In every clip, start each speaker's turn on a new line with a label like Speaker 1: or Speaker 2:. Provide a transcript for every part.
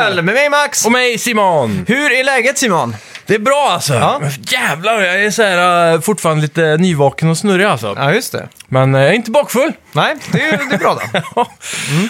Speaker 1: Öl med mig Max!
Speaker 2: Och mig Simon!
Speaker 1: Hur är läget Simon?
Speaker 2: Det är bra alltså!
Speaker 1: Ja.
Speaker 2: Jävlar, jag är så här, äh, fortfarande lite nyvaken och snurrig alltså.
Speaker 1: Ja, just det.
Speaker 2: Men äh, jag är inte bakfull.
Speaker 1: Nej, det är, det är bra då.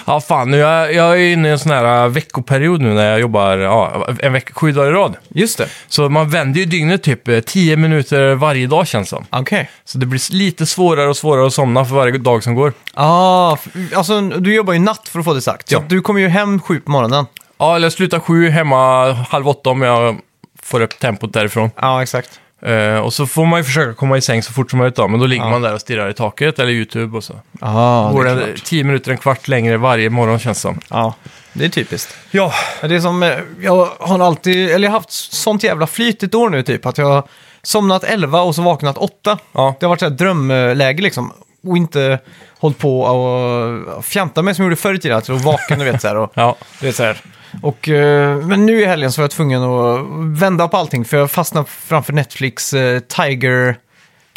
Speaker 2: Ja, fan. Nu, jag, jag är inne i en sån här äh, veckoperiod nu när jag jobbar ja, en vecka, sju dagar i rad.
Speaker 1: Just det.
Speaker 2: Så man vänder ju dygnet typ eh, 10 minuter varje dag känns det som.
Speaker 1: Okej.
Speaker 2: Så det blir s- lite svårare och svårare att somna för varje dag som går.
Speaker 1: Ah, f- alltså, du jobbar ju natt för att få det sagt. Så
Speaker 2: Ja.
Speaker 1: att du kommer ju hem sju på morgonen.
Speaker 2: Ja, eller jag slutar sju, hemma halv åtta om jag får upp tempot därifrån.
Speaker 1: Ja, exakt.
Speaker 2: Eh, och så får man ju försöka komma i säng så fort som möjligt då, men då ligger man där och stirrar i taket eller YouTube och så.
Speaker 1: Ah,
Speaker 2: Går
Speaker 1: det, är
Speaker 2: det
Speaker 1: klart.
Speaker 2: tio minuter, en kvart längre varje morgon känns det som.
Speaker 1: ja, det är typiskt.
Speaker 2: Ja.
Speaker 1: Ja, Det är som, eh, jag har alltid, eller jag har haft sånt jävla flyt ett år nu typ, att jag har somnat 11 och så vaknat 8.
Speaker 2: Ja.
Speaker 1: Det har varit så här drömläge liksom. Och inte hållit på och fjanta mig som jag gjorde förr i tiden, att jag var vaken du vet så här. Och,
Speaker 2: Ja.
Speaker 1: Det är så här. Och, eh, men nu i helgen så var jag tvungen att vända på allting för jag fastnade framför Netflix eh, Tiger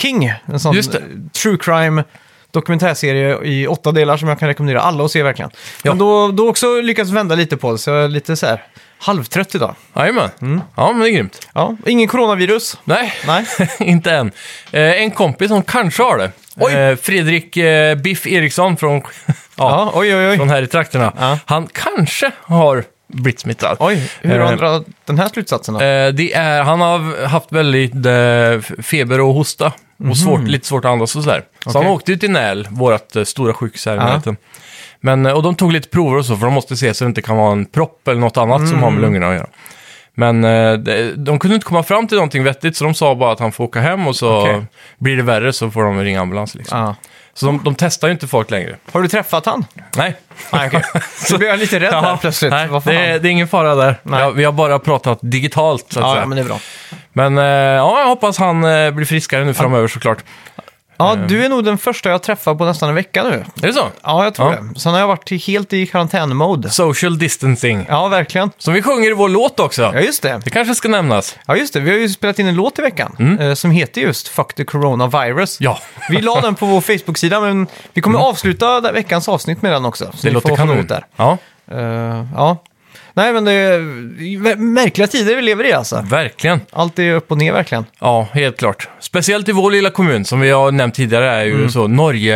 Speaker 1: King. En sån
Speaker 2: Just det.
Speaker 1: eh, true crime dokumentärserie i åtta delar som jag kan rekommendera alla att se verkligen.
Speaker 2: Ja.
Speaker 1: Men då, då också lyckats vända lite på det så jag är lite så här halvtrött idag.
Speaker 2: Jajamän.
Speaker 1: Mm.
Speaker 2: Ja, men det är grymt.
Speaker 1: Ja. Ingen coronavirus.
Speaker 2: Nej,
Speaker 1: Nej.
Speaker 2: inte än. Eh, en kompis som kanske har det.
Speaker 1: Oj.
Speaker 2: Eh, Fredrik eh, Biff Eriksson från, ja,
Speaker 1: Ja, oj oj oj.
Speaker 2: från här i trakterna.
Speaker 1: Ja.
Speaker 2: Han kanske har blivit smittad.
Speaker 1: Oj, hur har han
Speaker 2: Eh,
Speaker 1: dragit den här slutsatsen då?
Speaker 2: Eh, det är, han har haft väldigt eh, feber och hosta. Och svårt, lite svårt att andas och sådär. Så
Speaker 1: Mhm. Okej.
Speaker 2: han åkte ju till Näl, vårt eh, stora sjukhus här i
Speaker 1: Ja.
Speaker 2: närheten. Men, eh, och de tog lite prover och så, för de måste se så det inte kan vara en propp eller något annat som har
Speaker 1: Mm.
Speaker 2: med lungorna att göra. Men eh, de- de kunde inte komma fram till någonting vettigt, så de sa bara att han får åka hem och så
Speaker 1: Okej.
Speaker 2: blir det värre så får de ringa ambulans. Liksom.
Speaker 1: Ja.
Speaker 2: Så de, de testar ju inte folk längre.
Speaker 1: Har du träffat han?
Speaker 2: Nej.
Speaker 1: Nej, okej. Så blev jag lite rädd här
Speaker 2: Ja,
Speaker 1: plötsligt.
Speaker 2: Nej,
Speaker 1: Vad fan?
Speaker 2: det, är- det är ingen fara där.
Speaker 1: Nej.
Speaker 2: Ja, vi har bara pratat digitalt, så att
Speaker 1: ja,
Speaker 2: säga.
Speaker 1: ja, men det är bra.
Speaker 2: Men eh, ja, jag hoppas han eh, blir friskare nu framöver såklart.
Speaker 1: Ja,
Speaker 2: Ehm.
Speaker 1: du är nog den första jag träffar på nästan en vecka nu.
Speaker 2: Är det så?
Speaker 1: Ja, jag tror
Speaker 2: Ja.
Speaker 1: det. Sen har jag varit helt i karantänmode.
Speaker 2: Social distancing.
Speaker 1: Ja, verkligen.
Speaker 2: Som vi sjunger i vår låt också.
Speaker 1: Ja, just det.
Speaker 2: Det kanske ska nämnas.
Speaker 1: Ja, just det. Vi har ju spelat in en låt i veckan eh, som heter just Fuck the Coronavirus.
Speaker 2: Mm. Ja, Mm.
Speaker 1: Vi la den på vår Facebook-sida, men vi kommer avsluta där veckans avsnitt med den också. Så
Speaker 2: det
Speaker 1: ni får
Speaker 2: låter
Speaker 1: hålla
Speaker 2: kanon.
Speaker 1: ut Där.
Speaker 2: Ja,
Speaker 1: Eh, ja. Nej, men det är vä- märkliga tider vi lever i alltså.
Speaker 2: verkligen.
Speaker 1: Allt är upp och ner verkligen.
Speaker 2: Ja, helt klart. Speciellt i vår lilla kommun, som vi har nämnt tidigare, är ju så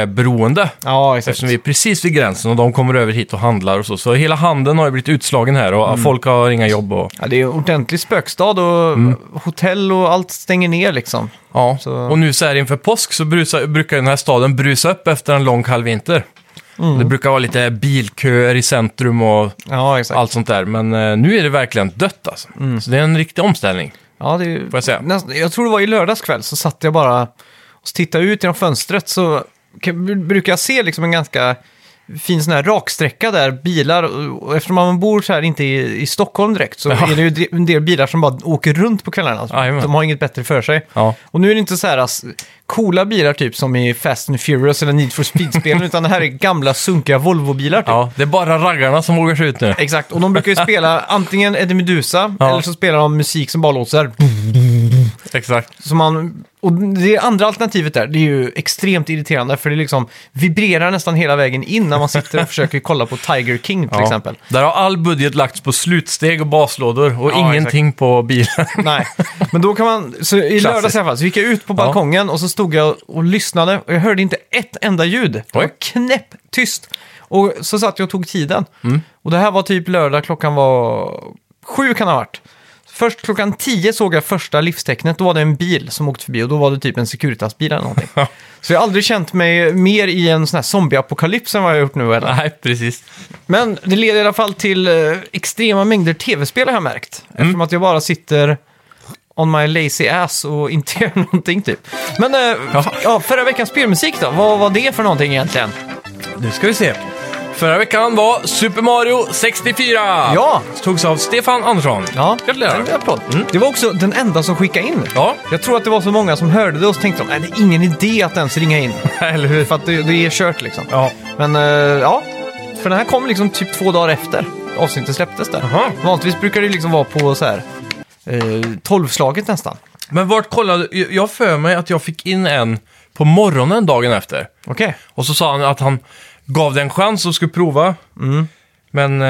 Speaker 2: Norgeberoende.
Speaker 1: Ja, Mm. exakt.
Speaker 2: Eftersom vi är precis vid gränsen och de kommer över hit och handlar och så. Så hela handeln har ju blivit utslagen här och
Speaker 1: Mm.
Speaker 2: folk har inga jobb och...
Speaker 1: Ja, det är en ordentlig spökstad och
Speaker 2: Mm.
Speaker 1: hotell och allt stänger ner liksom.
Speaker 2: Ja,
Speaker 1: Så-
Speaker 2: och nu så här inför påsk så brusa, brukar den här staden brusa upp efter en lång kall vinter. Det brukar vara lite bilköer i centrum och
Speaker 1: Ja, exakt.
Speaker 2: allt sånt där. Men eh, nu är det verkligen dött alltså. Så det är en riktig omställning.
Speaker 1: Ja, det är,
Speaker 2: Får jag säga?
Speaker 1: Nästan, jag tror det var i lördags kväll så satt jag bara och tittade ut genom fönstret så kan, br- brukar jag se liksom en ganska fin sån här raksträcka där bilar, och och eftersom man bor så här inte i, i Stockholm direkt så
Speaker 2: Ja.
Speaker 1: är det ju de- en del bilar som bara åker runt på kvällarna.
Speaker 2: Jajamän.
Speaker 1: de har inget bättre för sig.
Speaker 2: Ja.
Speaker 1: Och nu är det inte så här ass, coola bilar typ som i Fast and Furious eller Need for Speed-spelen utan det här är gamla sunkiga Volvo-bilar typ.
Speaker 2: ja, det är bara raggarna som vågar sig ut nu.
Speaker 1: Exakt, och de brukar ju spela antingen Eddie Meduza
Speaker 2: Ja.
Speaker 1: eller så spelar de musik som bara låter så här.
Speaker 2: Exakt.
Speaker 1: Så man, och det andra alternativet där, det är ju extremt irriterande för det liksom vibrerar nästan hela vägen in när man sitter och försöker kolla på Tiger King till
Speaker 2: Ja.
Speaker 1: exempel.
Speaker 2: Där har all budget lagts på slutsteg och baslådor och
Speaker 1: Ja,
Speaker 2: ingenting på bilen.
Speaker 1: Nej, men då kan man, så i lördags i alla fall, så gick jag ut på balkongen och så stod jag och lyssnade och jag hörde inte ett enda ljud. Det var
Speaker 2: Oj.
Speaker 1: knäpptyst. Och så satt jag och tog tiden. Och det här var typ lördag, klockan var sju kan det ha varit. Först klockan tio såg jag första livstecknet, då var det en bil som åkte förbi och då var det typ en Securitas-bil eller någonting. så jag har aldrig känt mig mer i en sån här zombieapokalyps än vad jag har gjort nu. Eller?
Speaker 2: Nej, precis.
Speaker 1: Men det leder i alla fall till eh, extrema mängder tv-spel har jag märkt.
Speaker 2: Mm.
Speaker 1: Eftersom att jag bara sitter on my lazy ass och inte gör någonting typ. Men eh,
Speaker 2: Jaha.
Speaker 1: ja, förra veckans spelmusik då, vad var det för någonting egentligen?
Speaker 2: Nu ska vi se. Förra veckan var Super Mario 64.
Speaker 1: Ja.
Speaker 2: Togs av Stefan Andersson.
Speaker 1: Ja,
Speaker 2: Gratulerar.
Speaker 1: en applåd. Det var också den enda som skickade in.
Speaker 2: Ja,
Speaker 1: Jag tror att det var så många som hörde det och så tänkte de, "Nej, det är ingen idé att ens ringa in.
Speaker 2: eller hur?
Speaker 1: För att det, det är kört liksom.
Speaker 2: Ja.
Speaker 1: Men eh, ja, för den här kom liksom typ två dagar efter avsnittet släpptes där.
Speaker 2: Jaha.
Speaker 1: Vanligtvis brukar det liksom vara på så här, eh, tolvslaget nästan.
Speaker 2: Men vart kollade... Jag har för mig att jag fick in en på morgonen dagen efter.
Speaker 1: Okej.
Speaker 2: Och så sa han att han gav det en chans och skulle prova. Men eh,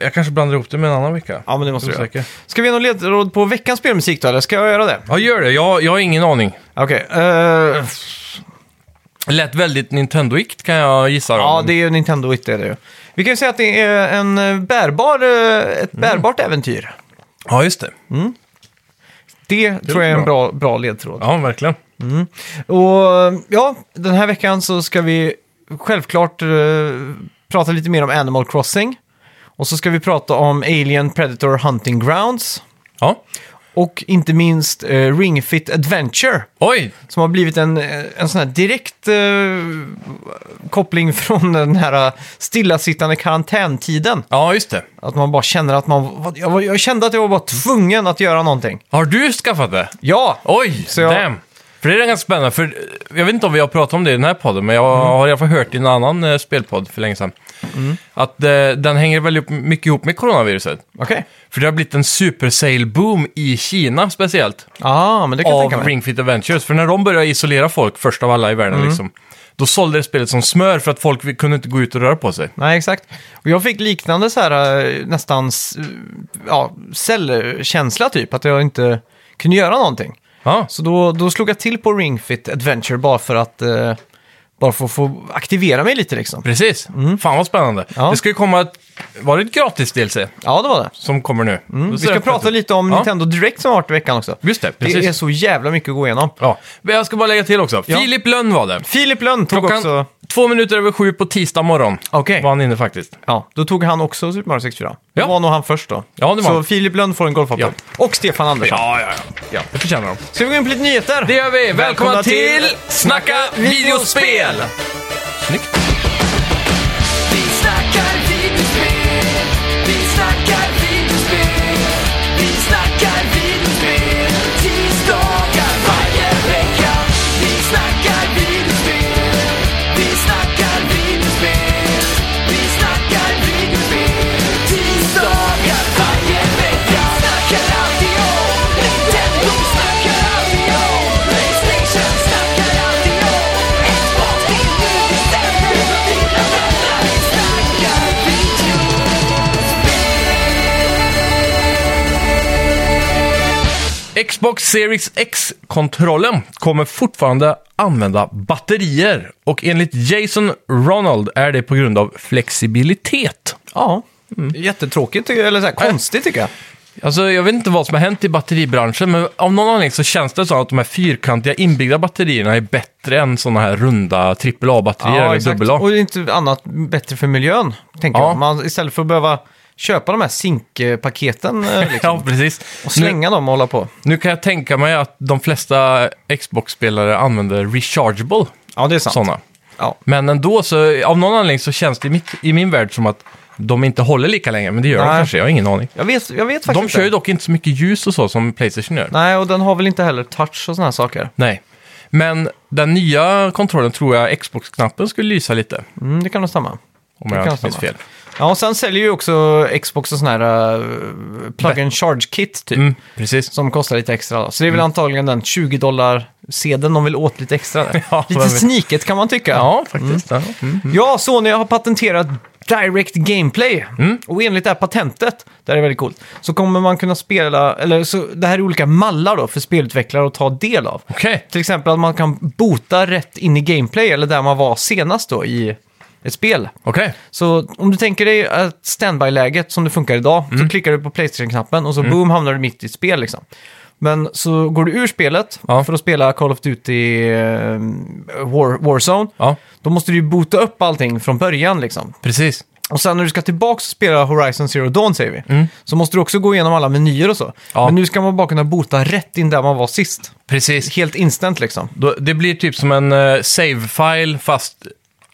Speaker 2: jag kanske blandar ihop det med en annan vecka.
Speaker 1: Mm. Ja, men det måste du göra.
Speaker 2: Osäker.
Speaker 1: Ska vi ge någon ledtråd på veckans spelmusik då, eller ska jag göra det?
Speaker 2: Ja, gör det. Jag, jag har ingen aning.
Speaker 1: Okej. eh,
Speaker 2: Lät väldigt Nintendoikt kan jag gissa. då.
Speaker 1: ja, det är ju Nintendo It, det är det ju. Vi kan ju säga att det är en eh, bärbar, eh, ett bärbart äventyr.
Speaker 2: ja, just det.
Speaker 1: Det, tror jag är en
Speaker 2: låter
Speaker 1: bra, bra ledtråd.
Speaker 2: Ja, verkligen.
Speaker 1: Och ja, den här veckan så ska vi självklart eh, prata lite mer om Animal Crossing. Och så ska vi prata om Alien Predator Hunting Grounds.
Speaker 2: Ja.
Speaker 1: Och inte minst eh, Ring Fit Adventure.
Speaker 2: Oj!
Speaker 1: Som har blivit en, eh, en sån här direkt eh, koppling från den här stillasittande karantäntiden.
Speaker 2: Ja, just det.
Speaker 1: Att man bara känner att man... vad- Jag, var- jag kände att jag var bara tvungen att göra någonting.
Speaker 2: Har du skaffat det?
Speaker 1: Ja!
Speaker 2: Oj,
Speaker 1: Så jag-
Speaker 2: damn! För det är ganska spännande, för eh, jag vet inte om vi har pratat om det i den här podden, men
Speaker 1: Mm.
Speaker 2: jag har i alla fall hört i en annan eh, spelpodd för länge sedan. Att eh, den hänger väl upp, mycket ihop med coronaviruset.
Speaker 1: Okej.
Speaker 2: För det har blivit en super sale boom i Kina speciellt,
Speaker 1: Ja, ah, men det kan jag tänka
Speaker 2: av
Speaker 1: mig. Mm.
Speaker 2: Ring Fit Adventures. För när de började isolera folk, först av alla i världen liksom, då sålde det spelet som smör för att folk vi- kunde inte gå ut och röra på sig.
Speaker 1: Nej, exakt. Och jag fick liknande så här eh, nästan s- eh, ja, cellkänsla typ, att jag inte kunde göra någonting.
Speaker 2: Ja,
Speaker 1: Så då, då slog jag till på Ring Fit Adventure bara för att eh, bara för att få aktivera mig lite liksom.
Speaker 2: precis. Fan vad spännande.
Speaker 1: Ja.
Speaker 2: Det ska ju komma ett, var det ett gratis DLC
Speaker 1: Ja, det var det.
Speaker 2: som kommer nu?
Speaker 1: Mm. Vi ska prata lite om
Speaker 2: Ja.
Speaker 1: Nintendo Direct som har varit i veckan också.
Speaker 2: Just det, precis.
Speaker 1: Det är så jävla mycket att gå igenom.
Speaker 2: Ja, men jag ska bara lägga till också. Filip Lönn var det.
Speaker 1: Filip Lönn tog
Speaker 2: Klockan
Speaker 1: också...
Speaker 2: två minuter över sju på tisdag morgon
Speaker 1: Okej.
Speaker 2: var han inne faktiskt.
Speaker 1: Ja, då tog han också Super Mario 64.
Speaker 2: Ja.
Speaker 1: Det var nog han först då.
Speaker 2: Ja, det var
Speaker 1: så
Speaker 2: han.
Speaker 1: Filip Lönn får en golfapplåd. Och Stefan Andersson.
Speaker 2: Ja, ja, ja. ja det förtjänar de.
Speaker 1: Ska vi gå in på lite nyheter?
Speaker 2: Det gör vi. Välkomna,
Speaker 1: Välkomna
Speaker 2: till
Speaker 1: till
Speaker 2: Snacka videospel! Snyggt.
Speaker 3: Vi snackar videospel, vi snackar videospel, vi snackar videospel, tisdagar varje vecka. Vi snackar videospel, vi snackar videospel, vi snackar videospel, tisdagar varje vecka. Snackar alltid om Nintendo, snackar alltid om Playstation, snackar alltid om Xbox, nu december, dina vänner. Vi snackar video.
Speaker 2: Xbox Series X-kontrollen kommer fortfarande använda batterier och enligt Jason Ronald är det på grund av flexibilitet.
Speaker 1: Ja,
Speaker 2: Mm.
Speaker 1: jättetråkigt, tycker jag, eller så här, konstigt tycker jag.
Speaker 2: Alltså, jag vet inte vad som har hänt i batteribranschen, men av någon anledning så känns det så att de här fyrkantiga inbyggda batterierna är bättre än sådana här runda AAA-batterier eller
Speaker 1: exakt.
Speaker 2: dubbel
Speaker 1: Och
Speaker 2: A.
Speaker 1: det är inte annat bättre för miljön, tänker
Speaker 2: Ja.
Speaker 1: jag. Man, istället för att behöva köpa de här zinkpaketen eh, liksom,
Speaker 2: Ja, precis.
Speaker 1: och
Speaker 2: Nu,
Speaker 1: slänga dem och hålla på.
Speaker 2: nu kan jag tänka mig att de flesta Xbox-spelare använder rechargeable
Speaker 1: Ja, det är sant.
Speaker 2: sådana.
Speaker 1: Ja.
Speaker 2: Men ändå, så, av någon anledning så känns det i, mitt, i min värld som att de inte håller lika länge, men det gör de
Speaker 1: Nej.
Speaker 2: kanske, jag har ingen aning.
Speaker 1: Jag, vet, jag vet faktiskt
Speaker 2: De kör ju
Speaker 1: inte.
Speaker 2: dock inte så mycket ljus och så som Playstation gör.
Speaker 1: Nej, och den har väl inte heller touch och sådana här saker.
Speaker 2: Nej. Men den nya kontrollen tror jag Xbox-knappen skulle lysa lite.
Speaker 1: Mm, det kan nog stämma.
Speaker 2: Om
Speaker 1: Det
Speaker 2: jag
Speaker 1: kan
Speaker 2: inte minns
Speaker 1: stämma.
Speaker 2: fel.
Speaker 1: Ja, och sen säljer ju också Xbox och sån här eh, plug-and charge-kit typ.
Speaker 2: Mm, precis.
Speaker 1: Som kostar lite extra då. Så det är väl antagligen den 20 dollar sedeln de vill åt lite extra där.
Speaker 2: Ja,
Speaker 1: lite
Speaker 2: vem vet.
Speaker 1: sniket kan man tycka.
Speaker 2: Ja, faktiskt. Ja. Mm.
Speaker 1: Ja, Sony har patenterat Direct Gameplay.
Speaker 2: Mm.
Speaker 1: Och enligt det här patentet, det här är väldigt coolt, så kommer man kunna spela, eller så, det här är olika mallar då för spelutvecklare att ta del av.
Speaker 2: Okej.
Speaker 1: Till exempel att man kan bota rätt in i gameplay, eller där man var senast då i ett spel.
Speaker 2: Okej.
Speaker 1: Så om du tänker dig att standby-läget som det funkar idag,
Speaker 2: Mm.
Speaker 1: så klickar du på Playstation-knappen och så boom hamnar du mitt i ett spel liksom. Men så går du ur spelet
Speaker 2: Ja.
Speaker 1: för att spela Call of Duty eh, War, Warzone.
Speaker 2: Ja,
Speaker 1: Då måste du ju bota upp allting från början liksom.
Speaker 2: precis.
Speaker 1: Och sen när du ska tillbaka och spela Horizon Zero Dawn, säger vi, så måste du också gå igenom alla menyer och så.
Speaker 2: Mm. Ja.
Speaker 1: Men nu ska man bara kunna bota rätt in där man var sist.
Speaker 2: Precis.
Speaker 1: Helt instant liksom.
Speaker 2: Då, det blir typ som en eh, save-file fast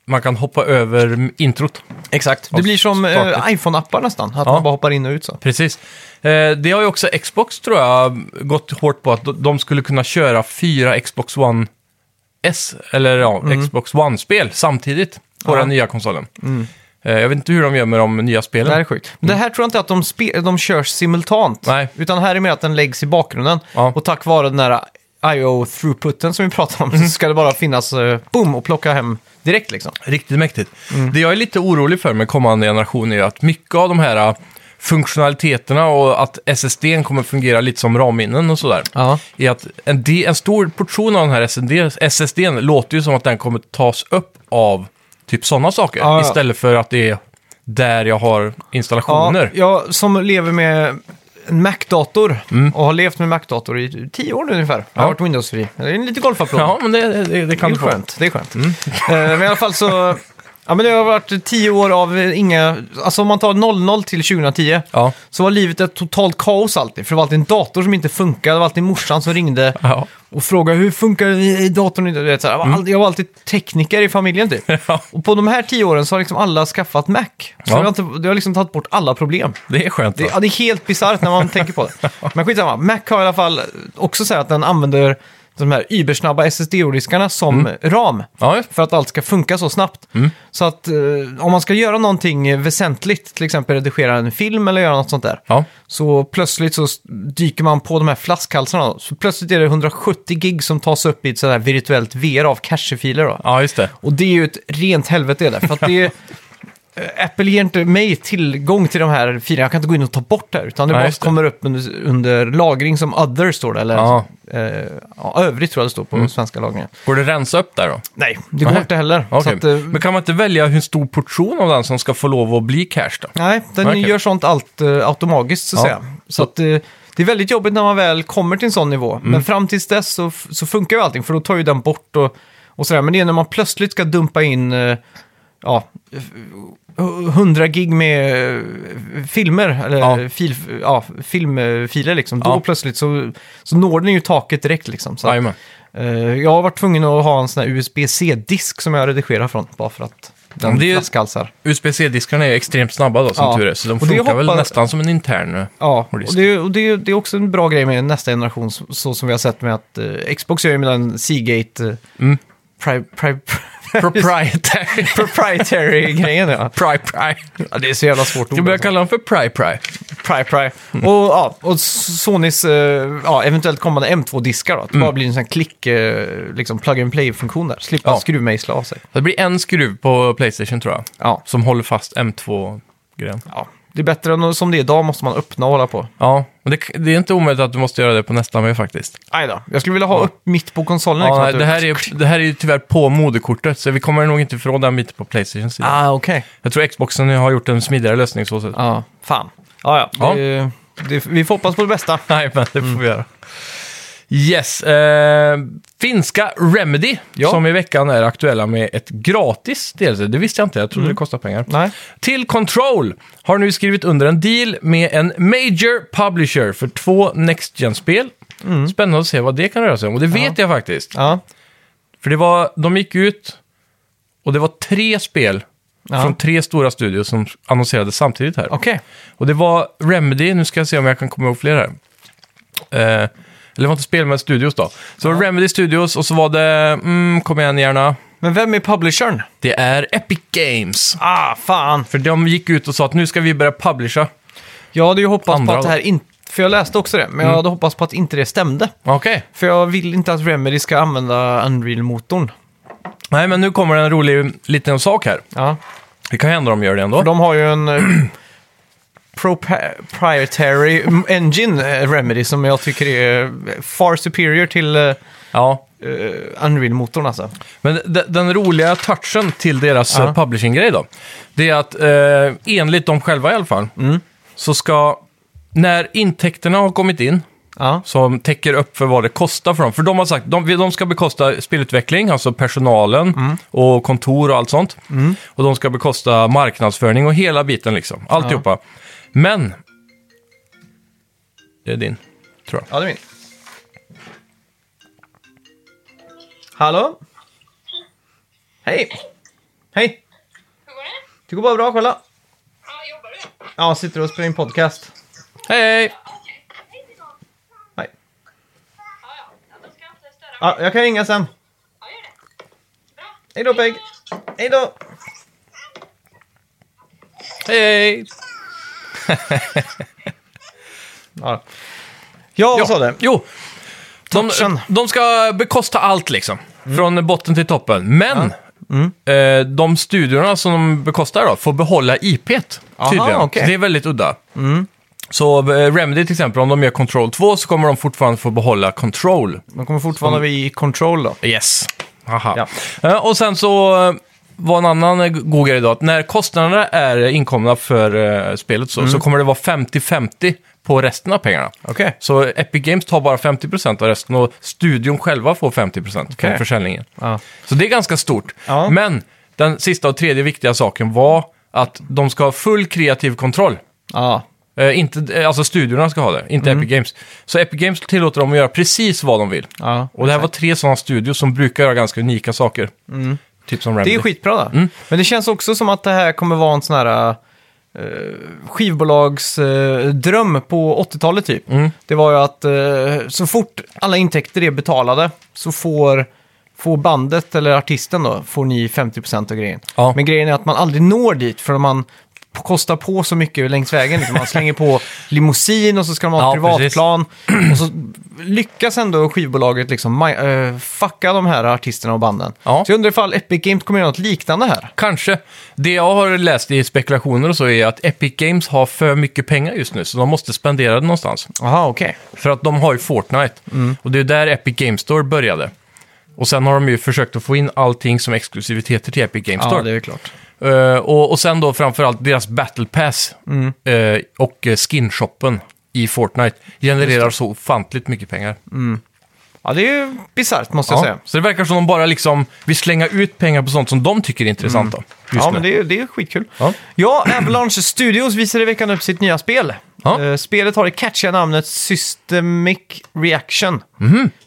Speaker 2: man kan hoppa över m- introt.
Speaker 1: Exakt. Det
Speaker 2: Ja,
Speaker 1: blir som eh,
Speaker 2: startligt.
Speaker 1: iPhone-appar nästan, att
Speaker 2: Ja.
Speaker 1: man bara hoppar in och ut så.
Speaker 2: Precis. Eh, det har ju också Xbox, tror jag, gått hårt på att de- de skulle kunna köra fyra Xbox One S, eller ja, Xbox One-spel samtidigt på
Speaker 1: Mm. Ja. Mm.
Speaker 2: den nya konsolen. Eh, jag vet inte hur de gör med de nya spelen.
Speaker 1: Det här är sjukt. Men det här tror jag inte att de, spe- de körs simultant.
Speaker 2: Nej.
Speaker 1: Utan här är mer att den läggs i bakgrunden.
Speaker 2: Ja.
Speaker 1: Och tack vare den här IO-throughputen som vi pratade om så ska det bara finnas, eh, boom, och plocka hem direkt liksom.
Speaker 2: Riktigt mäktigt.
Speaker 1: Mm.
Speaker 2: Det jag är lite orolig för med kommande generation är att mycket av de här äh, funktionaliteterna och att SSD n kommer fungera lite som RAM-minnen och sådär.
Speaker 1: Ja.
Speaker 2: Är att en, de- en stor portion av den här SSD, SSD n låter ju som att den kommer tas upp av typ sådana saker.
Speaker 1: Ja, ja.
Speaker 2: Istället för att det är där jag har installationer.
Speaker 1: Ja, jag som lever med en Mac-dator och har levt med Mac-dator i tio år nu ungefär. Jag har
Speaker 2: Mm. Ja.
Speaker 1: varit Windows-fri. Det är en liten golfapplåd.
Speaker 2: Ja, Mm. men det, det, det
Speaker 1: det
Speaker 2: kan
Speaker 1: är
Speaker 2: du få.
Speaker 1: skönt. Det är skönt. Eh, Men i alla fall så... Ja, men det har varit tio år av eh, inga... Alltså om man tar 00 till 2010
Speaker 2: Ja.
Speaker 1: så var livet ett totalt kaos alltid. För det var alltid en dator som inte funkade. Det var alltid morsan som ringde
Speaker 2: Ja.
Speaker 1: och frågade hur funkar i- i datorn? Du vet, så här, jag, var
Speaker 2: Mm.
Speaker 1: aldrig, jag var alltid tekniker i familjen typ.
Speaker 2: ja,
Speaker 1: Och på de här tio åren så har liksom alla skaffat Mac. Så
Speaker 2: Ja.
Speaker 1: det, har inte, det har liksom tagit bort alla problem.
Speaker 2: det är skönt.
Speaker 1: Det,
Speaker 2: va?
Speaker 1: ja, det är helt bisarrt när man tänker på det. Men skitsamma, Mac har i alla fall också så här att den använder de här ybersnabba SSD-diskarna som ram.
Speaker 2: Ja,
Speaker 1: För att allt ska funka så snabbt. Så att eh, om man ska göra någonting väsentligt, till exempel redigera en film eller göra något sånt där.
Speaker 2: ja.
Speaker 1: Så plötsligt så s- dyker man på de här flaskhalsarna. då. Så plötsligt är det 170 gig som tas upp i ett sådär virtuellt VR av cachefiler. Då.
Speaker 2: ja, just det.
Speaker 1: Och det är ju ett rent helvete där. För att det är, eh, Apple ger inte mig tillgång till de här filerna. Jag kan inte gå in och ta bort det här. Utan det
Speaker 2: Nej,
Speaker 1: bara
Speaker 2: just det.
Speaker 1: kommer upp under, under lagring som other står det. Eller
Speaker 2: Ja.
Speaker 1: eh, ja, övrigt tror jag det står på svenska lagringen.
Speaker 2: Går det att rensa upp där då?
Speaker 1: Nej, det går
Speaker 2: Nej.
Speaker 1: inte heller. Så
Speaker 2: Okej.
Speaker 1: att, eh,
Speaker 2: Men kan man inte välja hur stor portion av den som ska få lov att bli cash då?
Speaker 1: nej, den
Speaker 2: Okej.
Speaker 1: gör sånt allt eh, automatiskt så att
Speaker 2: Ja.
Speaker 1: säga. Så att, eh, det är väldigt jobbigt när man väl kommer till en sån nivå. Men
Speaker 2: Mm.
Speaker 1: fram tills dess så, f- så funkar ju allting, för då tar ju den bort och, och sådär. Men det är när man plötsligt ska dumpa in eh, ja, f- 100 gig med eh, filmer, eller
Speaker 2: Ja.
Speaker 1: Fil, ja, filmfiler liksom. Då
Speaker 2: Ja.
Speaker 1: plötsligt så, så når den ju taket direkt liksom. Så att,
Speaker 2: Jajamän.
Speaker 1: eh, jag har varit tvungen att ha en sån här USB-C-disk som jag redigerar från, bara för att den
Speaker 2: Men det är ju-
Speaker 1: flaskhalsar.
Speaker 2: USB-C-diskarna är ju extremt snabba då som
Speaker 1: Ja.
Speaker 2: tur är, så de
Speaker 1: Och det
Speaker 2: funkar väl
Speaker 1: hoppas-
Speaker 2: nästan som en intern. eh.
Speaker 1: Ja, och
Speaker 2: hårddisk.
Speaker 1: det, och det, det är också en bra grej med nästa generation, så, så som vi har sett med att eh, Xbox gör ju med den Seagate eh,
Speaker 2: Mm.
Speaker 1: pri, pri,
Speaker 2: Proprietary.
Speaker 1: proprietary-grejen. Ja.
Speaker 2: Pri-pri.
Speaker 1: ja, det är så jävla svårt Mm. ord.
Speaker 2: Du börjar
Speaker 1: alltså.
Speaker 2: kalla dem för pri-pri.
Speaker 1: Pri, pri. Och, ja, och Sonys eh, ja, eventuellt kommande M2-diskar då, att det bara blir en sån här klick, eh, liksom plug and play-funktion där. Mm. Slippa
Speaker 2: Ja.
Speaker 1: skruvmejsla av sig.
Speaker 2: Det blir en skruv på Playstation tror jag,
Speaker 1: Ja.
Speaker 2: som håller fast M2-grejen.
Speaker 1: ja, det är bättre än som det är idag, måste man öppna och hålla på.
Speaker 2: Ja, men det, det är inte omöjligt att du måste göra det på nästa med faktiskt.
Speaker 1: Aj då. Jag skulle vilja ha upp mitt på konsolen.
Speaker 2: Ja,
Speaker 1: liksom,
Speaker 2: nej,
Speaker 1: att du-
Speaker 2: det, här är, det här är ju tyvärr på moderkortet, så vi kommer nog inte ifrån den biten på Playstations sida.
Speaker 1: Ah, okej.
Speaker 2: Jag tror Xboxen har gjort en smidigare lösning så sett.
Speaker 1: Ja, fan. Ja, ja.
Speaker 2: Ja.
Speaker 1: Det, det, vi får hoppas på det bästa.
Speaker 2: Nej, men det får
Speaker 1: Mm.
Speaker 2: vi göra. Yes, eh, finska Remedy
Speaker 1: Ja.
Speaker 2: som i veckan är aktuella med ett gratis DLC. Det visste jag inte, jag trodde det kostade pengar.
Speaker 1: Mm. Nej.
Speaker 2: Till Control har nu skrivit under en deal med en major publisher för två Next Gen-spel. Spännande att se vad det kan röra sig om, och det vet jag faktiskt.
Speaker 1: Mm. Ja.
Speaker 2: För det var, de gick ut och det var tre spel
Speaker 1: Ja.
Speaker 2: från tre stora studios som annonserades samtidigt här.
Speaker 1: Okej.
Speaker 2: Och det var Remedy, nu ska jag se om jag kan komma ihåg fler här. Eh, eller det var inte spel, men studios då. Så var Remedy Studios och så var det, mm, kom igen gärna,
Speaker 1: Men vem är publishern?
Speaker 2: det är Epic Games.
Speaker 1: Ah, fan.
Speaker 2: För de gick ut och sa att nu ska vi börja publisha.
Speaker 1: Jag hade ju hoppats
Speaker 2: Andra
Speaker 1: på att det här inte... För jag läste också det, men jag hade hoppats på att inte det stämde.
Speaker 2: Okej.
Speaker 1: För jag vill inte att Remedy ska använda Unreal-motorn.
Speaker 2: Nej, men nu kommer en rolig liten sak här.
Speaker 1: Ja.
Speaker 2: Det kan hända de gör det ändå.
Speaker 1: För de har ju en eh, proprietary engine, eh, Remedy, som jag tycker är eh, far superior till eh,
Speaker 2: Ja.
Speaker 1: eh, Unreal-motorn alltså.
Speaker 2: Men de, den roliga touchen till deras
Speaker 1: Ja.
Speaker 2: eh, publishing-grej då, det är att eh, enligt dem själva i alla fall,
Speaker 1: Mm.
Speaker 2: så ska, när intäkterna har kommit in,
Speaker 1: Ja.
Speaker 2: som täcker upp för vad det kostar för dem. För de har sagt de, de ska bekosta spelutveckling, alltså personalen
Speaker 1: Mm.
Speaker 2: och kontor och allt sånt. Och de ska bekosta marknadsföring och hela biten liksom. Alltihopa. Men... Det är din, tror jag.
Speaker 1: Ja, det är min. Hallå? Hej! Hej!
Speaker 4: Hur går det?
Speaker 1: Det går bara bra, kolla.
Speaker 4: Ja, jobbar du?
Speaker 1: Ja, sitter och spelar in podcast.
Speaker 2: Hej, hej!
Speaker 4: Okej. Hej till dem.
Speaker 1: Nej.
Speaker 4: Ja, ja. Ja, Då ska jag inte störa.
Speaker 1: Ja, jag kan ringa sen.
Speaker 4: Ja, gör det. Bra.
Speaker 1: Hej då, Peg! Hej då!
Speaker 2: Hej, hej!
Speaker 1: Ja, ja vad sa du?
Speaker 2: Jo! De,
Speaker 1: touchen.
Speaker 2: de ska bekosta allt liksom. Från botten till toppen. Men
Speaker 1: Mm.
Speaker 2: eh, de studiorna som de bekostar då får behålla IP't
Speaker 1: Aha,
Speaker 2: tydligen.
Speaker 1: okej. Mm.
Speaker 2: Så det är väldigt udda. Så eh, Remedy till exempel, om de gör Control 2 så kommer de fortfarande få behålla Control.
Speaker 1: De kommer fortfarande vara i control då.
Speaker 2: Yes. Haha.
Speaker 1: Ja.
Speaker 2: Eh, Och sen så eh, var en annan eh, god grej då, att när kostnaderna är eh, inkomna för eh, spelet
Speaker 1: Mm.
Speaker 2: så, så kommer det vara 50-50 på resten av pengarna.
Speaker 1: Okej.
Speaker 2: Så Epic Games tar bara 50% av resten och studion själva får 50%
Speaker 1: Okej.
Speaker 2: från försäljningen.
Speaker 1: Ja.
Speaker 2: Så det är ganska stort.
Speaker 1: Ja.
Speaker 2: Men den sista och tredje viktiga saken var att de ska ha full kreativ kontroll.
Speaker 1: Ja.
Speaker 2: Eh, inte, eh, alltså studiorna ska ha det, inte
Speaker 1: Mm.
Speaker 2: Epic Games. Så Epic Games tillåter dem att göra precis vad de vill.
Speaker 1: Ja,
Speaker 2: och det här var tre sådana studios som brukar göra ganska unika saker. Typ som Remedy.
Speaker 1: Mm. Det är skitbra då.
Speaker 2: Mm.
Speaker 1: Men det känns också som att det här kommer vara en sån här eh, skivbolagsdröm eh, dröm på 80-talet typ.
Speaker 2: Mm.
Speaker 1: Det var ju att eh, så fort alla intäkter är betalade så får, får bandet eller artisten då, får ni 50% av grejen.
Speaker 2: Ja.
Speaker 1: Men grejen är att man aldrig når dit för man p- kostar på så mycket längs vägen. liksom. Man slänger på limousin och så ska de ha ett
Speaker 2: Ja, precis.
Speaker 1: privatplan. Och så lyckas ändå skivbolaget liksom ma- eh, fucka de här artisterna och banden.
Speaker 2: Ja.
Speaker 1: Så jag undrar ifall Epic Games kommer göra något liknande här.
Speaker 2: Kanske. Det jag har läst i spekulationer och så är att Epic Games har för mycket pengar just nu, så de måste spendera det någonstans.
Speaker 1: Jaha, okej.
Speaker 2: För att de har ju Fortnite.
Speaker 1: Mm.
Speaker 2: Och det är där Epic Game Store började. Och sen har de ju försökt att få in allting som exklusiviteter till Epic Game Store.
Speaker 1: Ja, det är ju klart.
Speaker 2: Eh, och, och sen då framförallt deras Battle Pass
Speaker 1: Mm.
Speaker 2: eh, och eh, skinshoppen i Fortnite genererar så ofantligt mycket pengar.
Speaker 1: Mm. Ja, det är ju bisarrt måste jag
Speaker 2: Ja,
Speaker 1: säga.
Speaker 2: så det verkar som de bara liksom vill slänga ut pengar på sånt som de tycker är intressant då, just
Speaker 1: Mm. Ja,
Speaker 2: nu.
Speaker 1: men det är, det är skitkul.
Speaker 2: Ja.
Speaker 1: Ja, Avalanche Studios visar i veckan upp sitt nya spel.
Speaker 2: Ja.
Speaker 1: Eh, Spelet har det catchiga namnet Systemic Reaction.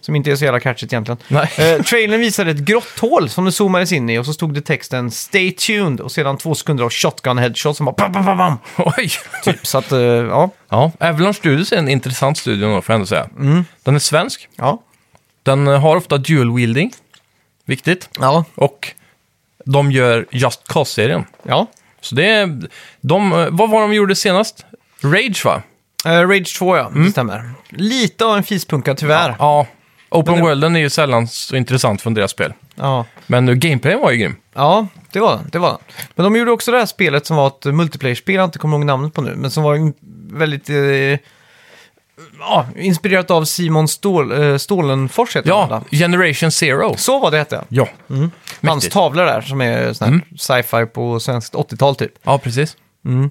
Speaker 1: Som inte är så jävla catchigt egentligen.
Speaker 2: Mhm. Nej.
Speaker 1: Eh, trailern visade ett grått hål som det zoomades in i och så stod det texten “Stay tuned” och sedan två sekunder av shotgun headshot som bara pam, pam, pam, pam.
Speaker 2: Oj!
Speaker 1: Typ, så att, eh, ja.
Speaker 2: Ja, Avalanche Studios är en intressant studio då, får jag ändå säga.
Speaker 1: Mm.
Speaker 2: Den är svensk,
Speaker 1: Ja.
Speaker 2: den eh, har ofta dual wielding, viktigt.
Speaker 1: Ja.
Speaker 2: Och de gör Just Cause-serien.
Speaker 1: ja.
Speaker 2: Så det är... De, eh, vad var de gjorde senast? Rage, va?
Speaker 1: Eh, Rage 2, ja. Det stämmer. Lite av en fispunka, tyvärr. Ja.
Speaker 2: Mm. Ja. Open Worlden är ju sällan så intressant från deras spel.
Speaker 1: ja.
Speaker 2: Men eh, gameplayen var ju grym.
Speaker 1: det var den. Det var den. Men de gjorde också det här spelet som var ett multiplayer-spel, jag inte kommer ihåg namnet på nu, men som var en väldigt... Eh, ja, inspirerat av Simon Stål, eh, Stålenfors, heter han,
Speaker 2: Ja, Mm.
Speaker 1: va?
Speaker 2: Generation Zero.
Speaker 1: Så var det, hette jag.
Speaker 2: Ja,
Speaker 1: Hans
Speaker 2: mäktigt. Mm.
Speaker 1: tavlor där, som är sån här sci-fi på svenskt 80-tal, typ.
Speaker 2: Ja, precis.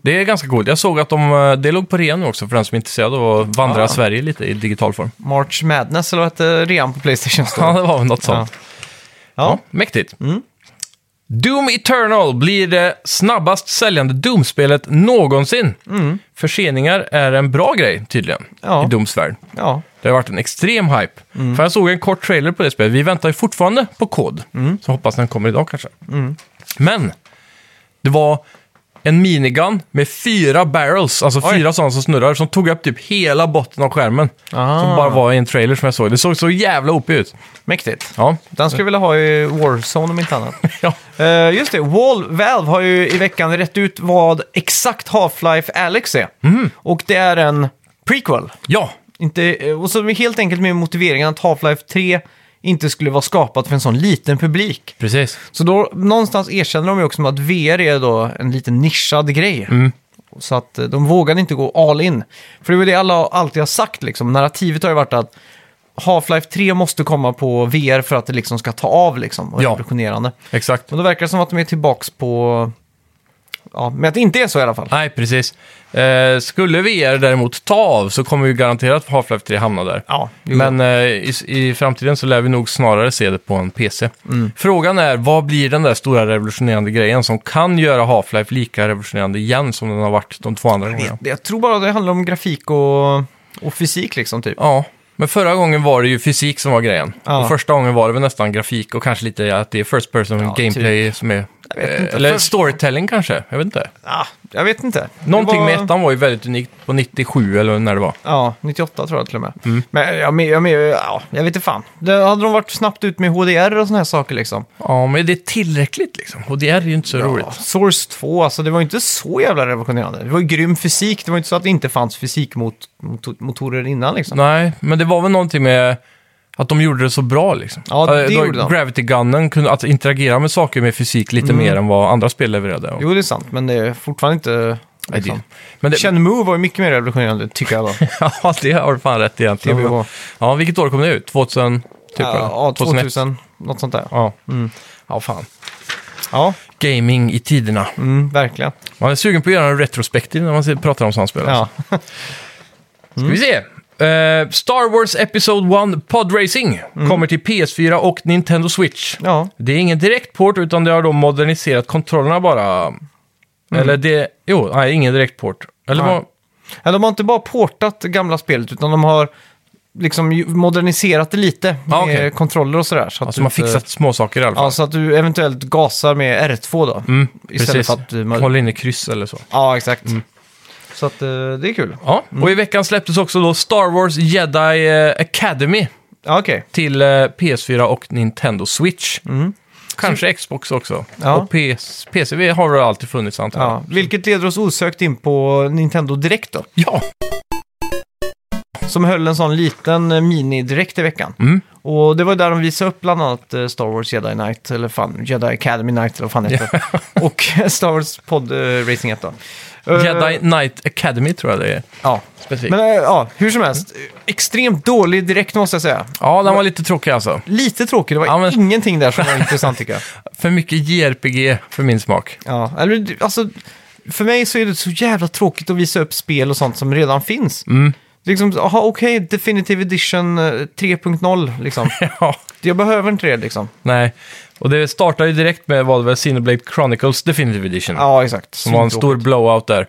Speaker 2: Det är ganska coolt. Jag såg att de, eh, det låg på rea nu också för den som är intresserad av att vandra
Speaker 1: Ah.
Speaker 2: Sverige lite i digital form.
Speaker 1: March Madness, eller vad hette rean på Playstation?
Speaker 2: Ja, det var väl något sånt. Ja.
Speaker 1: Ja.
Speaker 2: mäktigt.
Speaker 1: Mm.
Speaker 2: Doom Eternal blir det snabbast säljande Doom-spelet någonsin. Förseningar är en bra grej tydligen
Speaker 1: Mm. Ja. Mm.
Speaker 2: i Dooms värld.
Speaker 1: ja.
Speaker 2: Det har varit en extrem hype. För jag såg en kort trailer på det spelet. Vi väntar ju fortfarande på kod.
Speaker 1: Mm.
Speaker 2: Så hoppas den kommer idag kanske. Men det var en minigun med fyra barrels, alltså fyra sådana som snurrar, som tog upp typ hela botten av skärmen.
Speaker 1: Ah.
Speaker 2: Som bara var i en trailer som jag såg. Det såg så jävla OP ut.
Speaker 1: Mäktigt.
Speaker 2: Ja,
Speaker 1: Den skulle jag vilja ha i Warzone om inte annat.
Speaker 2: ja.
Speaker 1: Eh, just det, Wall Valve har ju i veckan rätt ut vad exakt Half-Life Alex är. Och det är en prequel.
Speaker 2: ja.
Speaker 1: Inte, eh, och så helt enkelt med motiveringen att Half-Life 3 inte skulle vara skapat för en sån liten publik.
Speaker 2: precis.
Speaker 1: Så då någonstans erkänner de ju också att VR är då en liten nischad grej. Så att eh, de vågade inte gå all in. För det är ju det alla alltid har sagt liksom. Narrativet har ju varit att Half-Life 3 måste komma på VR för att det liksom ska ta av liksom. Och
Speaker 2: Ja.
Speaker 1: ja. revolutionerande.
Speaker 2: Exakt.
Speaker 1: Men då verkar det som att de är tillbaks på... Ja, men att det inte är så i alla fall.
Speaker 2: Nej, precis. Eh, skulle VR däremot ta av så kommer ju garanterat Half-Life 3 hamna där.
Speaker 1: Ja, jo.
Speaker 2: Men eh, i, i framtiden så lär vi nog snarare se det på en PC.
Speaker 1: Mm.
Speaker 2: Frågan är, vad blir den där stora revolutionerande grejen som kan göra Half-Life lika revolutionerande igen som den har varit de två andra gångerna?
Speaker 1: Det- Jag tror bara det handlar om grafik och, och fysik liksom typ.
Speaker 2: Ja, men förra gången var det ju fysik som var grejen.
Speaker 1: Ja.
Speaker 2: Och första gången var det väl nästan grafik och kanske lite att det är first person gameplay som är...
Speaker 1: typ. vet inte.
Speaker 2: eh, Eller
Speaker 1: För-
Speaker 2: storytelling kanske, jag vet inte.
Speaker 1: Ah, jag vet inte. Det
Speaker 2: Någonting
Speaker 1: var-
Speaker 2: med ettan var ju väldigt unikt på 97 eller när det var.
Speaker 1: Ja, 98 tror jag till och med.
Speaker 2: Mm.
Speaker 1: Men jag, men, jag, men, ja, jag vet inte fan. Det, hade de varit snabbt ut med HDR och såna här saker liksom.
Speaker 2: Ja, men det är tillräckligt liksom. Och det är ju inte så
Speaker 1: Ja,
Speaker 2: roligt.
Speaker 1: Source 2, alltså det var ju inte så jävla revolutionerande. Det var ju grym fysik, det var ju inte så att det inte fanns fysikmotorer innan liksom.
Speaker 2: Nej, men det var väl någonting med Att de gjorde det så bra liksom.
Speaker 1: Ja, det
Speaker 2: Eh, då
Speaker 1: gjorde de. Mm.
Speaker 2: Gravity Gunnen kunde att interagera med saker med fysik lite mer än vad andra spel levererade. Och,
Speaker 1: Jo, det är sant, men det är fortfarande inte...
Speaker 2: Nej,
Speaker 1: Liksom.
Speaker 2: det, men det,
Speaker 1: Shenmue var ju mycket mer revolutionerande, tycker jag då.
Speaker 2: ja, det har du fan rätt egentligen.
Speaker 1: TVH.
Speaker 2: Ja, vilket år kom det ut? 2000? Typ, eller?
Speaker 1: ja, Mm.
Speaker 2: 2001?
Speaker 1: 2000, något sånt där.
Speaker 2: Ja. ja, fan.
Speaker 1: Ja,
Speaker 2: Gaming i tiderna.
Speaker 1: mm, verkligen.
Speaker 2: Man är sugen på att göra en retrospektiv när man ser- pratar om sådana spel.
Speaker 1: Ja.
Speaker 2: alltså. Ska vi se. Eh, Star Wars Episode 1 Podracing kommer till PS4 och Nintendo Switch.
Speaker 1: Mm. Ja.
Speaker 2: Det är ingen direkt port utan det har då moderniserat kontrollerna bara. Eller det... Jo, nej, ingen direkt port. Eller
Speaker 1: Mm. Nej.
Speaker 2: vad...
Speaker 1: Ja, de har inte bara portat det gamla spelet, utan de har liksom ju- moderniserat det lite med
Speaker 2: Ja, okej.
Speaker 1: kontroller och sådär. Så att
Speaker 2: Alltså
Speaker 1: du
Speaker 2: man har
Speaker 1: inte-
Speaker 2: fixat småsaker i alla fall.
Speaker 1: Ja, så att du eventuellt gasar med R2 då. istället
Speaker 2: Mm, Precis.
Speaker 1: för att eh, du...
Speaker 2: Håll Mm. inne kryss eller så.
Speaker 1: Ja, exakt. Så att eh, det är kul.
Speaker 2: Ja, och i veckan släpptes också då Star Wars Jedi eh, Academy
Speaker 1: Ja, okej.
Speaker 2: till eh, PS4 och Nintendo Switch. Kanske Xbox också.
Speaker 1: Mm. Ja.
Speaker 2: Och PS, PCV har det alltid funnits antar jag.
Speaker 1: Ja, vilket leder oss osökt in på Nintendo Direkt då.
Speaker 2: Ja.
Speaker 1: Som höll en sån liten eh, mini-direkt i veckan.
Speaker 2: Mm.
Speaker 1: Och det var där de visade upp bland annat eh, Star Wars Jedi Knight, eller fan, Jedi Academy Knight eller vad fan heter det. Och Star Wars Pod eh, Racing 1 då. Eh,
Speaker 2: Jedi Knight Academy tror jag det är.
Speaker 1: Ja.
Speaker 2: Specifikt.
Speaker 1: Men eh, ja, hur som helst. Extremt dålig direkt måste jag säga.
Speaker 2: ja, den var lite tråkig alltså.
Speaker 1: Lite tråkig, det var
Speaker 2: Ja, men-
Speaker 1: ingenting där som var intressant tycker jag.
Speaker 2: För mycket JRPG för min smak.
Speaker 1: Ja, eller du- alltså, för mig så är det så jävla tråkigt att visa upp spel och sånt som redan finns.
Speaker 2: Mm.
Speaker 1: Det är liksom, jaha okej, Definitive Edition eh, 3.0 liksom.
Speaker 2: ja.
Speaker 1: jag behöver inte det liksom.
Speaker 2: Nej, och det startar ju direkt med vad det var, Cineblade Chronicles Definitive Edition.
Speaker 1: Ja, exakt.
Speaker 2: Som var en
Speaker 1: Svintråkigt.
Speaker 2: stor blowout där.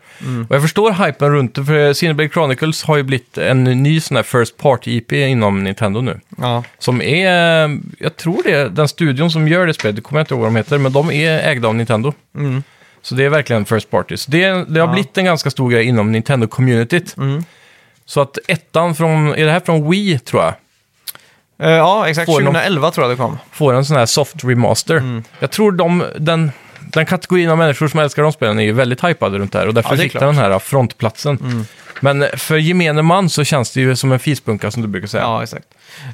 Speaker 2: Och jag förstår hypen runt det, för Cineblade Chronicles har ju blivit en ny sån här First Party-IP inom Nintendo nu.
Speaker 1: Ja,
Speaker 2: Som är, eh, jag tror det är den studion som gör det spelet, det kommer jag inte ihåg vad de heter, men de är ägda av Nintendo.
Speaker 1: Mm.
Speaker 2: Så det är verkligen First Party. Så det, det har blivit en ganska stor grej inom Nintendo-communityt.
Speaker 1: Mm.
Speaker 2: Så att ettan från, är det här från Wii tror jag?
Speaker 1: Eh, ja exakt.
Speaker 2: Får de-
Speaker 1: 2011 tror jag det kom.
Speaker 2: får en sån här soft remaster.
Speaker 1: Mm.
Speaker 2: Jag tror de, den, den kategorin av människor som älskar de spelen är ju väldigt hypade runt det här och därför
Speaker 1: Ja, det är
Speaker 2: fick
Speaker 1: klart. Mm.
Speaker 2: den här frontplatsen. Men för gemene man så känns det ju som en fispunka som du brukar säga.
Speaker 1: Ja, exakt.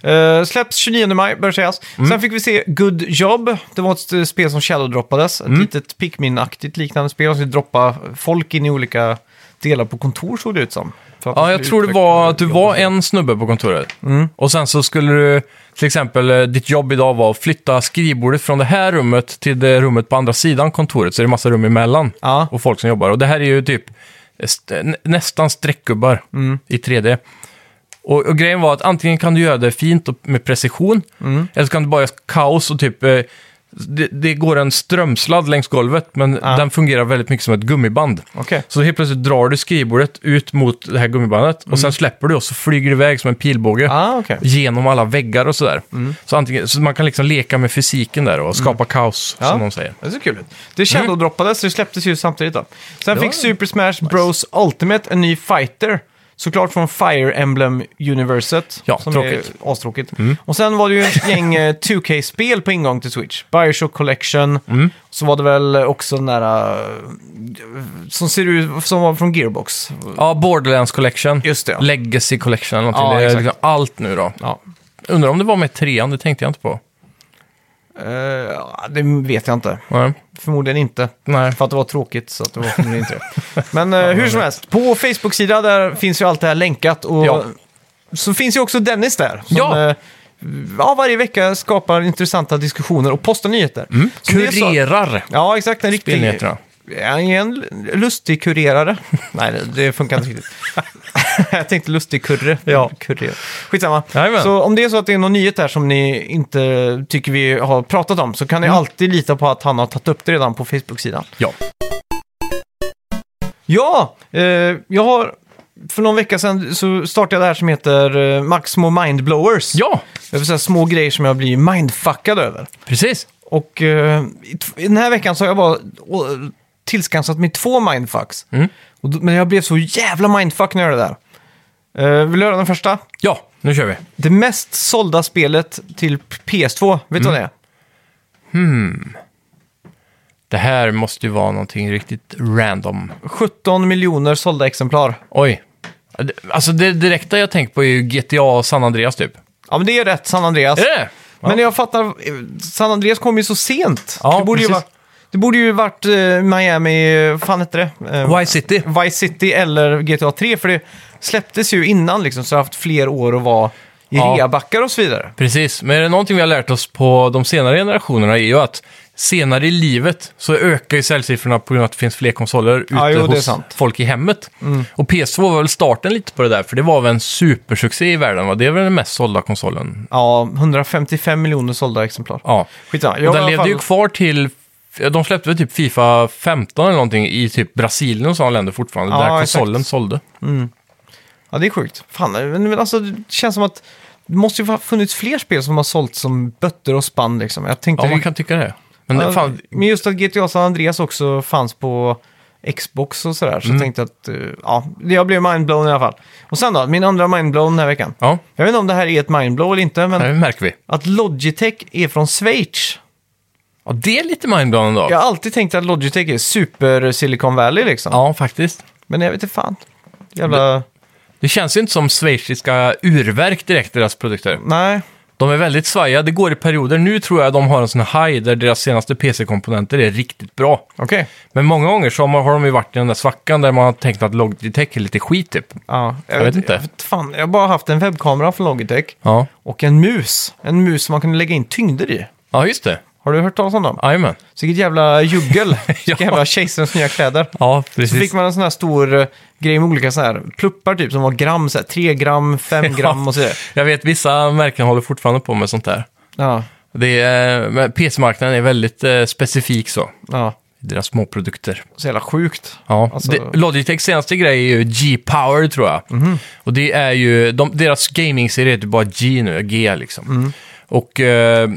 Speaker 1: Eh, släpps 29 maj, bör sägas.
Speaker 2: Mm.
Speaker 1: Sen fick vi se Good Job. Det var ett eh, spel som shadowdroppades.
Speaker 2: Mm.
Speaker 1: Ett litet Pikmin-aktigt liknande spel som skulle droppa folk in i olika delar på kontor såg det ut som. För att de
Speaker 2: Ja, jag
Speaker 1: skulle
Speaker 2: tror det
Speaker 1: utveckla
Speaker 2: var att du
Speaker 1: jobb.
Speaker 2: var en snubbe på kontoret.
Speaker 1: Mm.
Speaker 2: Och sen så skulle du, till exempel, eh, ditt jobb idag var att flytta skrivbordet från det här rummet till det rummet på andra sidan kontoret. Så det är massa rum emellan
Speaker 1: Ja.
Speaker 2: och folk som jobbar. Och det här är ju typ st- nä- nästan streckgubbar
Speaker 1: Mm.
Speaker 2: i 3D. Och, och grejen var att antingen kan du göra det fint och med precision,
Speaker 1: Mm.
Speaker 2: eller så kan du bara göra kaos och typ... eh, Det, det går en strömsladd längs golvet, men den fungerar väldigt mycket som ett gummiband.
Speaker 1: Okej.
Speaker 2: Så helt plötsligt drar du skrivbordet ut mot det här gummibandet och
Speaker 1: Mm.
Speaker 2: sen släpper du och så flyger du iväg som en pilbåge
Speaker 1: Ah, okej.
Speaker 2: genom alla väggar och sådär.
Speaker 1: Mm.
Speaker 2: Så, antingen, så man kan liksom leka med fysiken där och skapa kaos,
Speaker 1: Ja.
Speaker 2: som de säger. Mm.
Speaker 1: Det ser kul ut. Det shadowdroppades, så det släpptes ju samtidigt då. Sen
Speaker 2: Det
Speaker 1: fick
Speaker 2: var-
Speaker 1: Super Smash Bros Ultimate en ny fighter. Såklart från Fire Emblem-universet.
Speaker 2: Ja,
Speaker 1: som
Speaker 2: tråkigt. Mm.
Speaker 1: är astråkigt. Och sen var det ju ett gäng eh, 2K-spel på ingång till Switch. Bioshock Collection.
Speaker 2: Mm.
Speaker 1: Så var det väl också den där... eh, Som ser ut som var från Gearbox.
Speaker 2: Ja, Borderlands Collection.
Speaker 1: Just det.
Speaker 2: Legacy Collection eller
Speaker 1: Ja,
Speaker 2: någonting. det är
Speaker 1: exakt.
Speaker 2: liksom allt nu då.
Speaker 1: Ja.
Speaker 2: Undrar om det var med i trean, det tänkte jag inte på.
Speaker 1: Eh, ja, det vet jag inte.
Speaker 2: Nej.
Speaker 1: Förmodligen inte.
Speaker 2: Nej.
Speaker 1: För att det var tråkigt, så att det var förmodligen inte det. Men eh, hur som helst, på Facebook-sida där finns ju allt det här länkat. Och
Speaker 2: Ja.
Speaker 1: så finns ju också Dennis där. Som,
Speaker 2: Ja.
Speaker 1: eh, ja, varje vecka skapar intressanta diskussioner och postar nyheter. Så det är så-
Speaker 2: Kurerar
Speaker 1: Ja, exakt. En riktig...
Speaker 2: Mm. spelnyheterna.
Speaker 1: Han är en lustig kurerare. Nej, det- det funkar inte riktigt. jag tänkte lustig kurre. Ja. kurre. Skitsamma.
Speaker 2: Jajamän.
Speaker 1: Så om det är så att det är någon nyhet där som ni inte tycker vi har pratat om så kan
Speaker 2: Mm.
Speaker 1: ni alltid lita på att han har tagit upp det redan på Facebook-sidan.
Speaker 2: Ja.
Speaker 1: Ja, eh, jag har... För någon vecka sedan så startade jag det här som heter eh, Maximo Mindblowers.
Speaker 2: ja,
Speaker 1: Det är så här små grejer som jag blir mindfuckad över.
Speaker 2: precis.
Speaker 1: Och eh, i tv- i den här veckan så har jag bara å- tillskansat mig två mindfucks.
Speaker 2: Mm.
Speaker 1: Och, då- men jag blev så jävla mindfuck när jag gjorde det där. Eh, vill du höra den första?
Speaker 2: Ja, nu kör vi.
Speaker 1: Det mest sålda spelet till PS2, vet
Speaker 2: Mm.
Speaker 1: du vad det är?
Speaker 2: Det här måste ju vara någonting riktigt random.
Speaker 1: 17 miljoner sålda exemplar.
Speaker 2: Oj. Alltså det direkta jag tänker på är ju GTA San Andreas typ.
Speaker 1: Ja, men det är rätt, San Andreas.
Speaker 2: Är det? Ja.
Speaker 1: Men jag fattar, eh, San Andreas kom ju så sent.
Speaker 2: Ja,
Speaker 1: det, borde ju
Speaker 2: precis.
Speaker 1: va- det borde ju varit eh, Miami, eh, fan hette det? Eh,
Speaker 2: Vice City.
Speaker 1: Vice City eller GTA 3, för det släpptes ju innan liksom, så jag har haft fler år att vara i
Speaker 2: Ja.
Speaker 1: reabackar och så vidare.
Speaker 2: Precis, men är det någonting vi har lärt oss på de senare generationerna är ju att senare i livet så ökar ju säljsiffrorna på grund av att det finns fler konsoler ute
Speaker 1: Ja, jo, det är
Speaker 2: hos
Speaker 1: sant. Mm.
Speaker 2: folk i hemmet. Och PS2 var väl starten lite på det där, för det var väl en supersuccé i världen, va? Det är väl den mest sålda konsolen.
Speaker 1: Ja, 155 miljoner sålda exemplar.
Speaker 2: Ja.
Speaker 1: Skitsamma. Jag var
Speaker 2: Och
Speaker 1: i
Speaker 2: den
Speaker 1: alla
Speaker 2: levde
Speaker 1: fall-
Speaker 2: ju kvar till... De släppte väl typ Fifa 15 eller någonting i typ Brasilien och sådana länder fortfarande,
Speaker 1: Ja,
Speaker 2: där
Speaker 1: exakt.
Speaker 2: konsolen sålde.
Speaker 1: Ja, det är sjukt. Fan, men men alltså, det känns som att det måste ju ha funnits fler spel som har sålt som bötter och spann liksom. Jag tänkte...
Speaker 2: Ja, man kan tycka det. Men
Speaker 1: Ja,
Speaker 2: fan,
Speaker 1: Men just att GTA San Andreas också fanns på Xbox och sådär, så
Speaker 2: Mm.
Speaker 1: tänkte jag att, eh, ja, jag blev mindblown i alla fall. Och sen då, min andra mindblown den här veckan.
Speaker 2: ja,
Speaker 1: Jag vet inte om det här är ett mindblow eller inte, men
Speaker 2: det märker vi.
Speaker 1: att Logitech är från Schweiz.
Speaker 2: Ja, det är lite mindblowing då.
Speaker 1: Jag har alltid tänkt att Logitech är super Silicon Valley liksom.
Speaker 2: ja, faktiskt.
Speaker 1: Men jag vet inte fan. Jävla...
Speaker 2: Det känns ju inte som schweiziska urverk direkt, deras produkter.
Speaker 1: Nej.
Speaker 2: De är väldigt svajiga, det går i perioder. Nu tror jag de har en sån high där deras senaste PC-komponenter är riktigt bra.
Speaker 1: Okej.
Speaker 2: Men många gånger så har har de ju varit i den där svackan där man har tänkt att Logitech är lite skit typ.
Speaker 1: Ja, jag,
Speaker 2: vet inte.
Speaker 1: Jag, vet fan, jag har bara haft en webbkamera från Logitech
Speaker 2: Ja,
Speaker 1: och en mus. En mus som man kunde lägga in tyngder i.
Speaker 2: ja just det.
Speaker 1: Har du hört talas om dem?
Speaker 2: Jajamän.
Speaker 1: Vilket jävla juggel. Vilka
Speaker 2: Ja.
Speaker 1: jävla kejsarens nya kläder.
Speaker 2: Ja,
Speaker 1: Så fick
Speaker 2: precis.
Speaker 1: man en sån här stor eh, grej med olika så här pluppar typ som var gram, så här, 3 gram, 5 gram och så vidare.
Speaker 2: Jag vet, vissa märken håller fortfarande på med sånt där.
Speaker 1: Ja,
Speaker 2: Det är, men PC-marknaden är väldigt eh, specifik så.
Speaker 1: ja.
Speaker 2: Deras småprodukter.
Speaker 1: Så jävla sjukt.
Speaker 2: Ja,
Speaker 1: Alltså-
Speaker 2: det, Logitechs senaste grej är ju G-Power tror jag.
Speaker 1: Mhm.
Speaker 2: Och det är ju, de, deras gaming-serie heter bara G nu, G liksom.
Speaker 1: Mm.
Speaker 2: Och eh,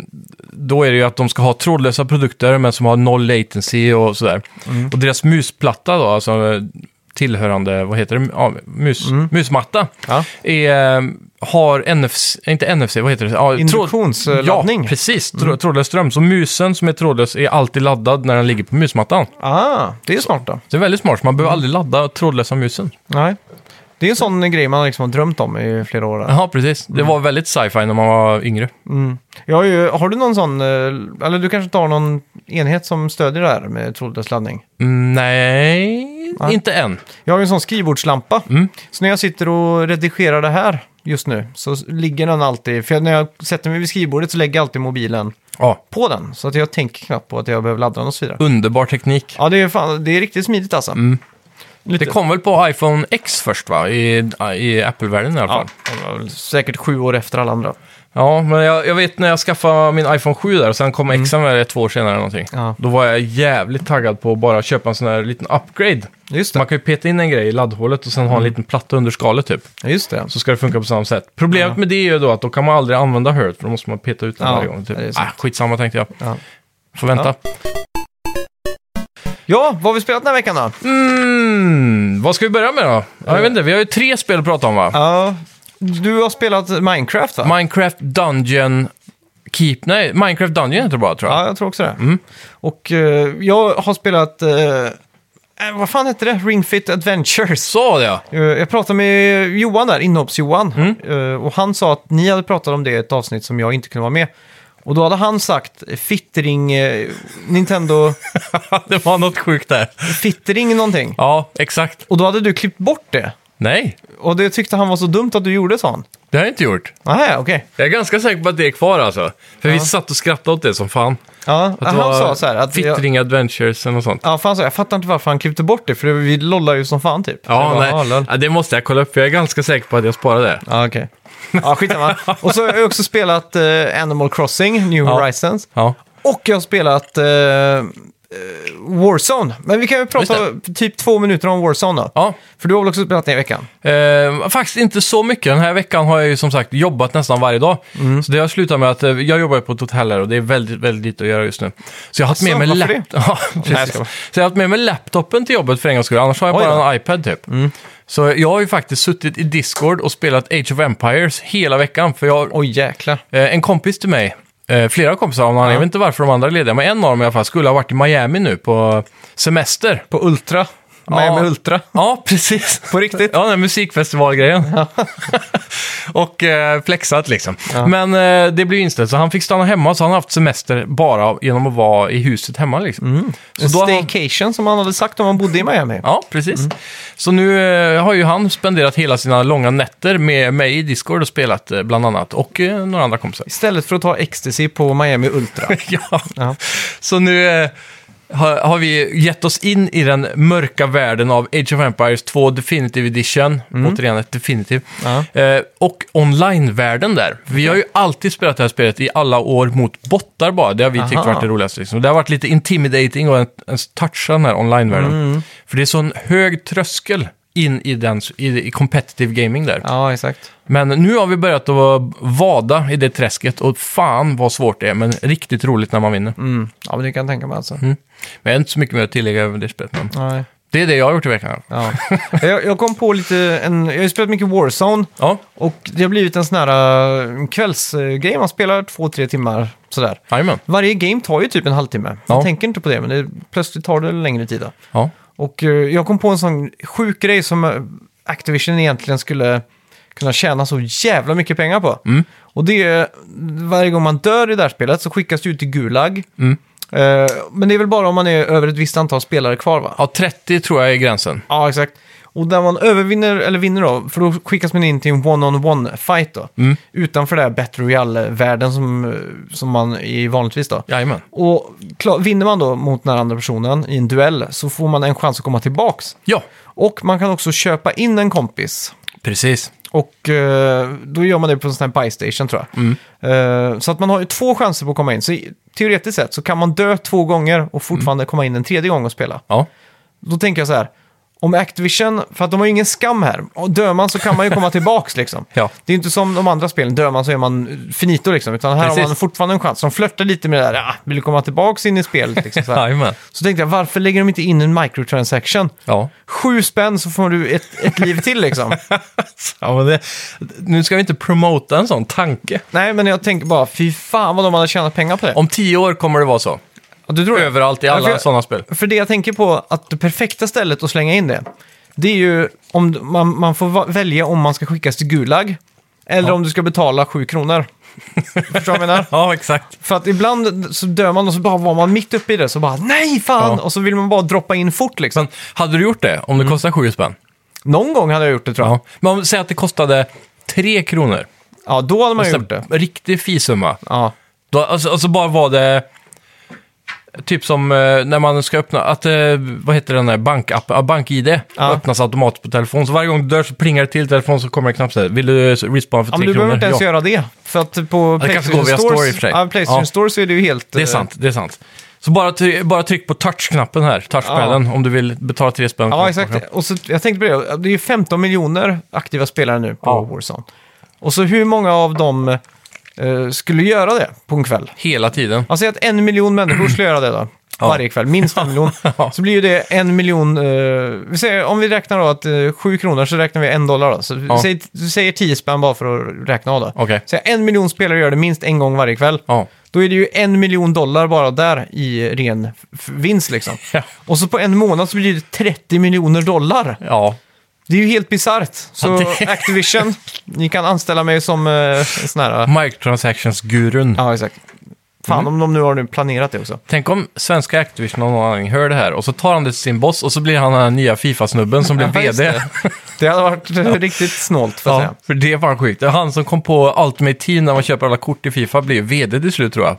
Speaker 2: då är det ju att de ska ha trådlösa produkter men som har noll latency och sådär.
Speaker 1: Mm.
Speaker 2: Och deras musplatta då, alltså eh, tillhörande, vad heter det, ja, mus, musmatta,
Speaker 1: Mm. Ja.
Speaker 2: är, eh, har NFC, inte NFC, vad heter det? Ja, tråd-
Speaker 1: Induktionsladdning.
Speaker 2: Ja, precis. Tråd,
Speaker 1: Mm.
Speaker 2: Trådlös ström. Så musen som är trådlös är alltid laddad när den ligger på musmattan.
Speaker 1: Ah, det är smart då.
Speaker 2: Det är väldigt smart, så man behöver aldrig ladda trådlösa musen.
Speaker 1: Nej. Det är en sån grej man liksom har drömt om i flera år.
Speaker 2: Ja, precis. Det var väldigt sci-fi när man var yngre.
Speaker 1: Jag har, ju, har du någon sån, eh, eller du kanske inte har någon enhet som stödjer det här med trådlös laddning?
Speaker 2: Mm, nej,
Speaker 1: Ja.
Speaker 2: inte än.
Speaker 1: Jag har ju en sån skrivbordslampa.
Speaker 2: Mm.
Speaker 1: Så när jag sitter och redigerar det här just nu så ligger den alltid, för när jag sätter mig vid skrivbordet så lägger jag alltid mobilen
Speaker 2: Ja,
Speaker 1: på den. Så att jag tänker knappt på att jag behöver ladda den och så vidare.
Speaker 2: underbar teknik.
Speaker 1: Ja, det är, fan, det är riktigt smidigt alltså. Lite-
Speaker 2: Mm. Det kom väl på iPhone X först, va? I, i Apple-världen i alla
Speaker 1: Ja,
Speaker 2: fall.
Speaker 1: det var väl säkert sju år efter alla andra.
Speaker 2: Ja, men jag, jag vet när jag skaffade min iPhone 7 där och sen kom Xen väl två år senare eller någonting.
Speaker 1: Ja.
Speaker 2: Då var jag jävligt taggad på att bara köpa en sån här liten upgrade.
Speaker 1: Just
Speaker 2: Man
Speaker 1: det.
Speaker 2: kan ju peta in en grej i laddhålet och sen ha en liten platta under skalet typ.
Speaker 1: Just det.
Speaker 2: så ska det funka på samma sätt. Problemet med det är ju då att då kan man aldrig använda Hurt, för då måste man peta ut den
Speaker 1: Ja,
Speaker 2: varje gång. Typ.
Speaker 1: det är sant.
Speaker 2: Ah, skitsamma tänkte jag.
Speaker 1: Ja.
Speaker 2: Får vänta.
Speaker 1: Ja, vad har vi spelat den här veckan då?
Speaker 2: Mm, vad ska vi börja med då? Ja, jag vet inte, vi har ju tre spel att prata om va?
Speaker 1: Ja, du har spelat Minecraft va?
Speaker 2: Minecraft Dungeon Keep... Nej, Minecraft Dungeon heter det bara tror jag.
Speaker 1: ja, jag tror också det.
Speaker 2: Mm.
Speaker 1: Och eh, jag har spelat, eh, eh, vad fan hette det? Ring Fit Adventures.
Speaker 2: Så det ja.
Speaker 1: Eh, Jag pratade med Johan där, inhopps-Johan.
Speaker 2: Mm.
Speaker 1: Eh, Och han sa att ni hade pratat om det i ett avsnitt som jag inte kunde vara med. Och då hade han sagt fittring, eh, Nintendo,
Speaker 2: det var något sjukt där.
Speaker 1: fittring någonting.
Speaker 2: Ja, exakt.
Speaker 1: Och då hade du klippt bort det.
Speaker 2: Nej,
Speaker 1: Och det tyckte han var så dumt att du gjorde, sa han.
Speaker 2: det har jag inte gjort.
Speaker 1: Nej, okej.
Speaker 2: Jag är ganska säker på att det är kvar alltså. För vi satt och skrattade åt det som fan.
Speaker 1: Ja,
Speaker 2: Att det
Speaker 1: han
Speaker 2: var
Speaker 1: sa så här att... Jag,
Speaker 2: Fittring Adventures eller något sånt.
Speaker 1: ja, för han sa, jag fattar inte varför han klippte bort det, för vi lollar ju som fan typ.
Speaker 2: Ja,
Speaker 1: Jag bara,
Speaker 2: nej.
Speaker 1: lol.
Speaker 2: ja, det måste jag kolla upp, för jag är ganska säker på att jag sparade det.
Speaker 1: Ja, okej. Ja, skitsamma. Och så har jag också spelat eh, Animal Crossing, New Horizons.
Speaker 2: Ja.
Speaker 1: Och jag har spelat eh, eh, Warzone. Men vi kan ju prata typ två minuter om Warzone då.
Speaker 2: ja.
Speaker 1: För du har väl också spelat det i veckan?
Speaker 2: Eh, faktiskt inte så mycket. Den här veckan har jag ju som sagt jobbat nästan varje dag.
Speaker 1: Mm.
Speaker 2: Så det har slutat med att eh, jag jobbar ju på ett hotell här och det är väldigt, väldigt lite att göra just nu. Så jag har haft med
Speaker 1: Asså,
Speaker 2: mig
Speaker 1: varför
Speaker 2: lap- ja,
Speaker 1: Nej, jag
Speaker 2: precis.
Speaker 1: ska bara-
Speaker 2: Så jag har haft med mig laptopen till jobbet för en gångs skull. Annars har jag
Speaker 1: Oj då. Mm.
Speaker 2: bara en iPad typ. Så jag har ju faktiskt suttit i Discord och spelat Age of Empires hela veckan. För jag,
Speaker 1: Oj, jäklar.
Speaker 2: Eh, en kompis till mig, eh, flera kompisar av honom, jag vet inte varför de andra är lediga, men en av dem i alla fall skulle ha varit i Miami nu på semester.
Speaker 1: På Ultra. Miami Ultra.
Speaker 2: Ja, precis.
Speaker 1: På riktigt?
Speaker 2: Ja, den här musikfestivalgrejen. och eh, flexat liksom. Men eh, det blev inställt, så han fick stanna hemma. Så han har haft semester bara genom att vara i huset hemma liksom.
Speaker 1: En
Speaker 2: Så då har han,
Speaker 1: staycation som han hade sagt om han bodde i Miami.
Speaker 2: ja, precis. Så nu eh, har ju han spenderat hela sina långa nätter med mig i Discord och spelat eh, bland annat. Och eh, några andra kompisar.
Speaker 1: Istället för att ta ecstasy på Miami Ultra.
Speaker 2: ja.
Speaker 1: Ja.
Speaker 2: Så nu eh, har, har vi gett oss in i den mörka världen av Age of Empires 2 Definitive Edition. Återigen ett Definitive.
Speaker 1: Mm. Ja.
Speaker 2: Eh, och online-världen där. Vi har ju alltid spelat det här spelet i alla år mot bottar bara. Det har vi tyckt
Speaker 1: Aha.
Speaker 2: varit det roligaste. Liksom. Det har varit lite intimidating och en, en toucha den här online-världen.
Speaker 1: Mm.
Speaker 2: För det är sån hög tröskel in i, den, i, i competitive gaming där.
Speaker 1: Ja, exakt.
Speaker 2: Men nu har vi börjat att vada i det träsket och fan vad svårt det är, men riktigt roligt när man vinner.
Speaker 1: Mm. Ja, men det kan jag tänka mig alltså.
Speaker 2: Mm. Men jag har inte så mycket mer att tillägga över det spelet. Men
Speaker 1: Nej.
Speaker 2: det är det jag har gjort i veckan.
Speaker 1: Ja. jag, jag kom på lite, en, jag har ju spelat mycket Warzone
Speaker 2: Ja,
Speaker 1: och det har blivit en sån här eh, kvällsgrej. Man spelar två, tre timmar sådär.
Speaker 2: jajamän.
Speaker 1: Varje game tar ju typ en halvtimme. Man
Speaker 2: Ja.
Speaker 1: tänker inte på det, men det, plötsligt tar det längre tid. Då.
Speaker 2: Ja.
Speaker 1: Och eh, jag kom på en sån sjuk grej som eh, Activision egentligen skulle kunna tjäna så jävla mycket pengar på.
Speaker 2: Mm.
Speaker 1: Och det är, varje gång man dör i det här spelet så skickas du ut till Gulag.
Speaker 2: Mm.
Speaker 1: Eh, men det är väl bara om man är över ett visst antal spelare kvar va?
Speaker 2: ja, 30 tror jag är gränsen.
Speaker 1: Ja, exakt. Och när man övervinner, eller vinner då, för då skickas man in till en one-on-one fight då.
Speaker 2: Mm.
Speaker 1: Utanför det här Battle Royale-världen som, eh, som man är vanligtvis då.
Speaker 2: Jajamän.
Speaker 1: Och klar, vinner man då mot den här andra personen i en duell så får man en chans att komma tillbaks.
Speaker 2: Ja,
Speaker 1: Och man kan också köpa in en kompis.
Speaker 2: precis.
Speaker 1: Och eh, då gör man det på en sån här buy-station tror jag. Eh, så att man har ju två chanser på att komma in. Så i- teoretiskt sett så kan man dö två gånger och fortfarande komma in en tredje gång och spela.
Speaker 2: Ja,
Speaker 1: Då tänker jag så här, om Activision, för att de har ju ingen skam här. Och Dör man så kan man ju komma tillbaks liksom.
Speaker 2: Ja.
Speaker 1: Det är ju inte som de andra spelen, dör man så är man finito liksom. Utan här har
Speaker 2: Precis.
Speaker 1: man fortfarande en chans. De flörtar lite med det där, ah, vill du komma tillbaks in i spelet liksom. Så, här.
Speaker 2: jajamän.
Speaker 1: så tänkte jag, varför lägger de inte in en microtransaction?
Speaker 2: Ja.
Speaker 1: Sju spänn så får du ett, ett liv till liksom.
Speaker 2: ja men det, nu ska vi inte promota en sån tanke.
Speaker 1: Nej, men jag tänker bara, fy fan vad de hade tjänat pengar på det.
Speaker 2: Om tio år kommer det vara så.
Speaker 1: Ja, du tror det?
Speaker 2: Överallt i
Speaker 1: Ja,
Speaker 2: alla
Speaker 1: för-
Speaker 2: sådana spel.
Speaker 1: För det jag tänker på, att det perfekta stället att slänga in det, det är ju om d- man, man får va- välja om man ska skickas till Gulag eller om du ska betala 7 kronor. Förstår du vad jag menar?
Speaker 2: Ja, exakt.
Speaker 1: För att ibland så dör man och så bara var man mitt uppe i det så bara nej fan!
Speaker 2: Ja.
Speaker 1: Och så vill man bara droppa in fort liksom.
Speaker 2: Men hade du gjort det om det kostade sju spänn?
Speaker 1: Någon gång hade jag gjort det tror jag. Ja,
Speaker 2: Mm. Ja. Men om vi säger att det kostade tre kronor.
Speaker 1: då hade man ju
Speaker 2: Så
Speaker 1: gjort det.
Speaker 2: Riktig fisumma.
Speaker 1: Ja.
Speaker 2: Då, alltså, alltså bara var det... Typ som eh, när man ska öppna, att, eh, vad heter den där bankappen, ah, bank-id
Speaker 1: Ja.
Speaker 2: öppnas automatiskt på telefon. Så varje gång du dör så plingar det till i telefonen så kommer det en knapp så här, vill du respawn för
Speaker 1: Ja,
Speaker 2: tre
Speaker 1: men du
Speaker 2: kronor?
Speaker 1: behöver inte ens
Speaker 2: ja.
Speaker 1: göra det. För att på
Speaker 2: det kanske går via
Speaker 1: Stores,
Speaker 2: Store i och för sig.
Speaker 1: ja, Playstation
Speaker 2: Ja.
Speaker 1: Store så är det ju helt...
Speaker 2: Det är
Speaker 1: eh,
Speaker 2: sant, det är sant. Så bara, try- bara tryck på touchknappen här, touchpaden, om du vill betala tre spänn.
Speaker 1: Ja, exakt. Och så, jag tänkte på det, det är ju 15 miljoner aktiva spelare nu på
Speaker 2: Ja.
Speaker 1: Warzone. Och så hur många av dem eh, skulle göra det på en kväll?
Speaker 2: Hela tiden.
Speaker 1: Man säger att en miljon människor skulle göra det då.
Speaker 2: Ja.
Speaker 1: Varje kväll, minst en miljon. Så blir ju det en miljon... Eh, vi säger, om vi räknar då att eh, sju kronor så räknar vi en dollar då. Så
Speaker 2: Ja.
Speaker 1: säg, du säger tio spänn bara för att räkna av då.
Speaker 2: Okej.
Speaker 1: Så en miljon spelare gör det minst en gång varje kväll.
Speaker 2: Ja.
Speaker 1: Då är det ju en miljon dollar bara där i ren f- vinst liksom.
Speaker 2: Ja.
Speaker 1: Och så på en månad så blir det 30 miljoner dollar.
Speaker 2: Ja,
Speaker 1: Det är ju helt bisarrt. Så
Speaker 2: Ja, det-
Speaker 1: Activision, ni kan anställa mig som eh, sån här...
Speaker 2: microtransactions-gurun.
Speaker 1: Ja, exakt. Fan om de nu har nu planerat det också.
Speaker 2: Tänk om svenska Activision av någon anledning hör det här och så tar han det till sin boss och så blir han den här nya Fifa-snubben som blir
Speaker 1: Ja, just
Speaker 2: VD.
Speaker 1: det. Det hade varit eh, riktigt snålt för att
Speaker 2: Ja,
Speaker 1: säga.
Speaker 2: för det var sjukt. Det är Han som kom på Ultimate Team när man köper alla kort i Fifa blir ju vd till slut tror jag.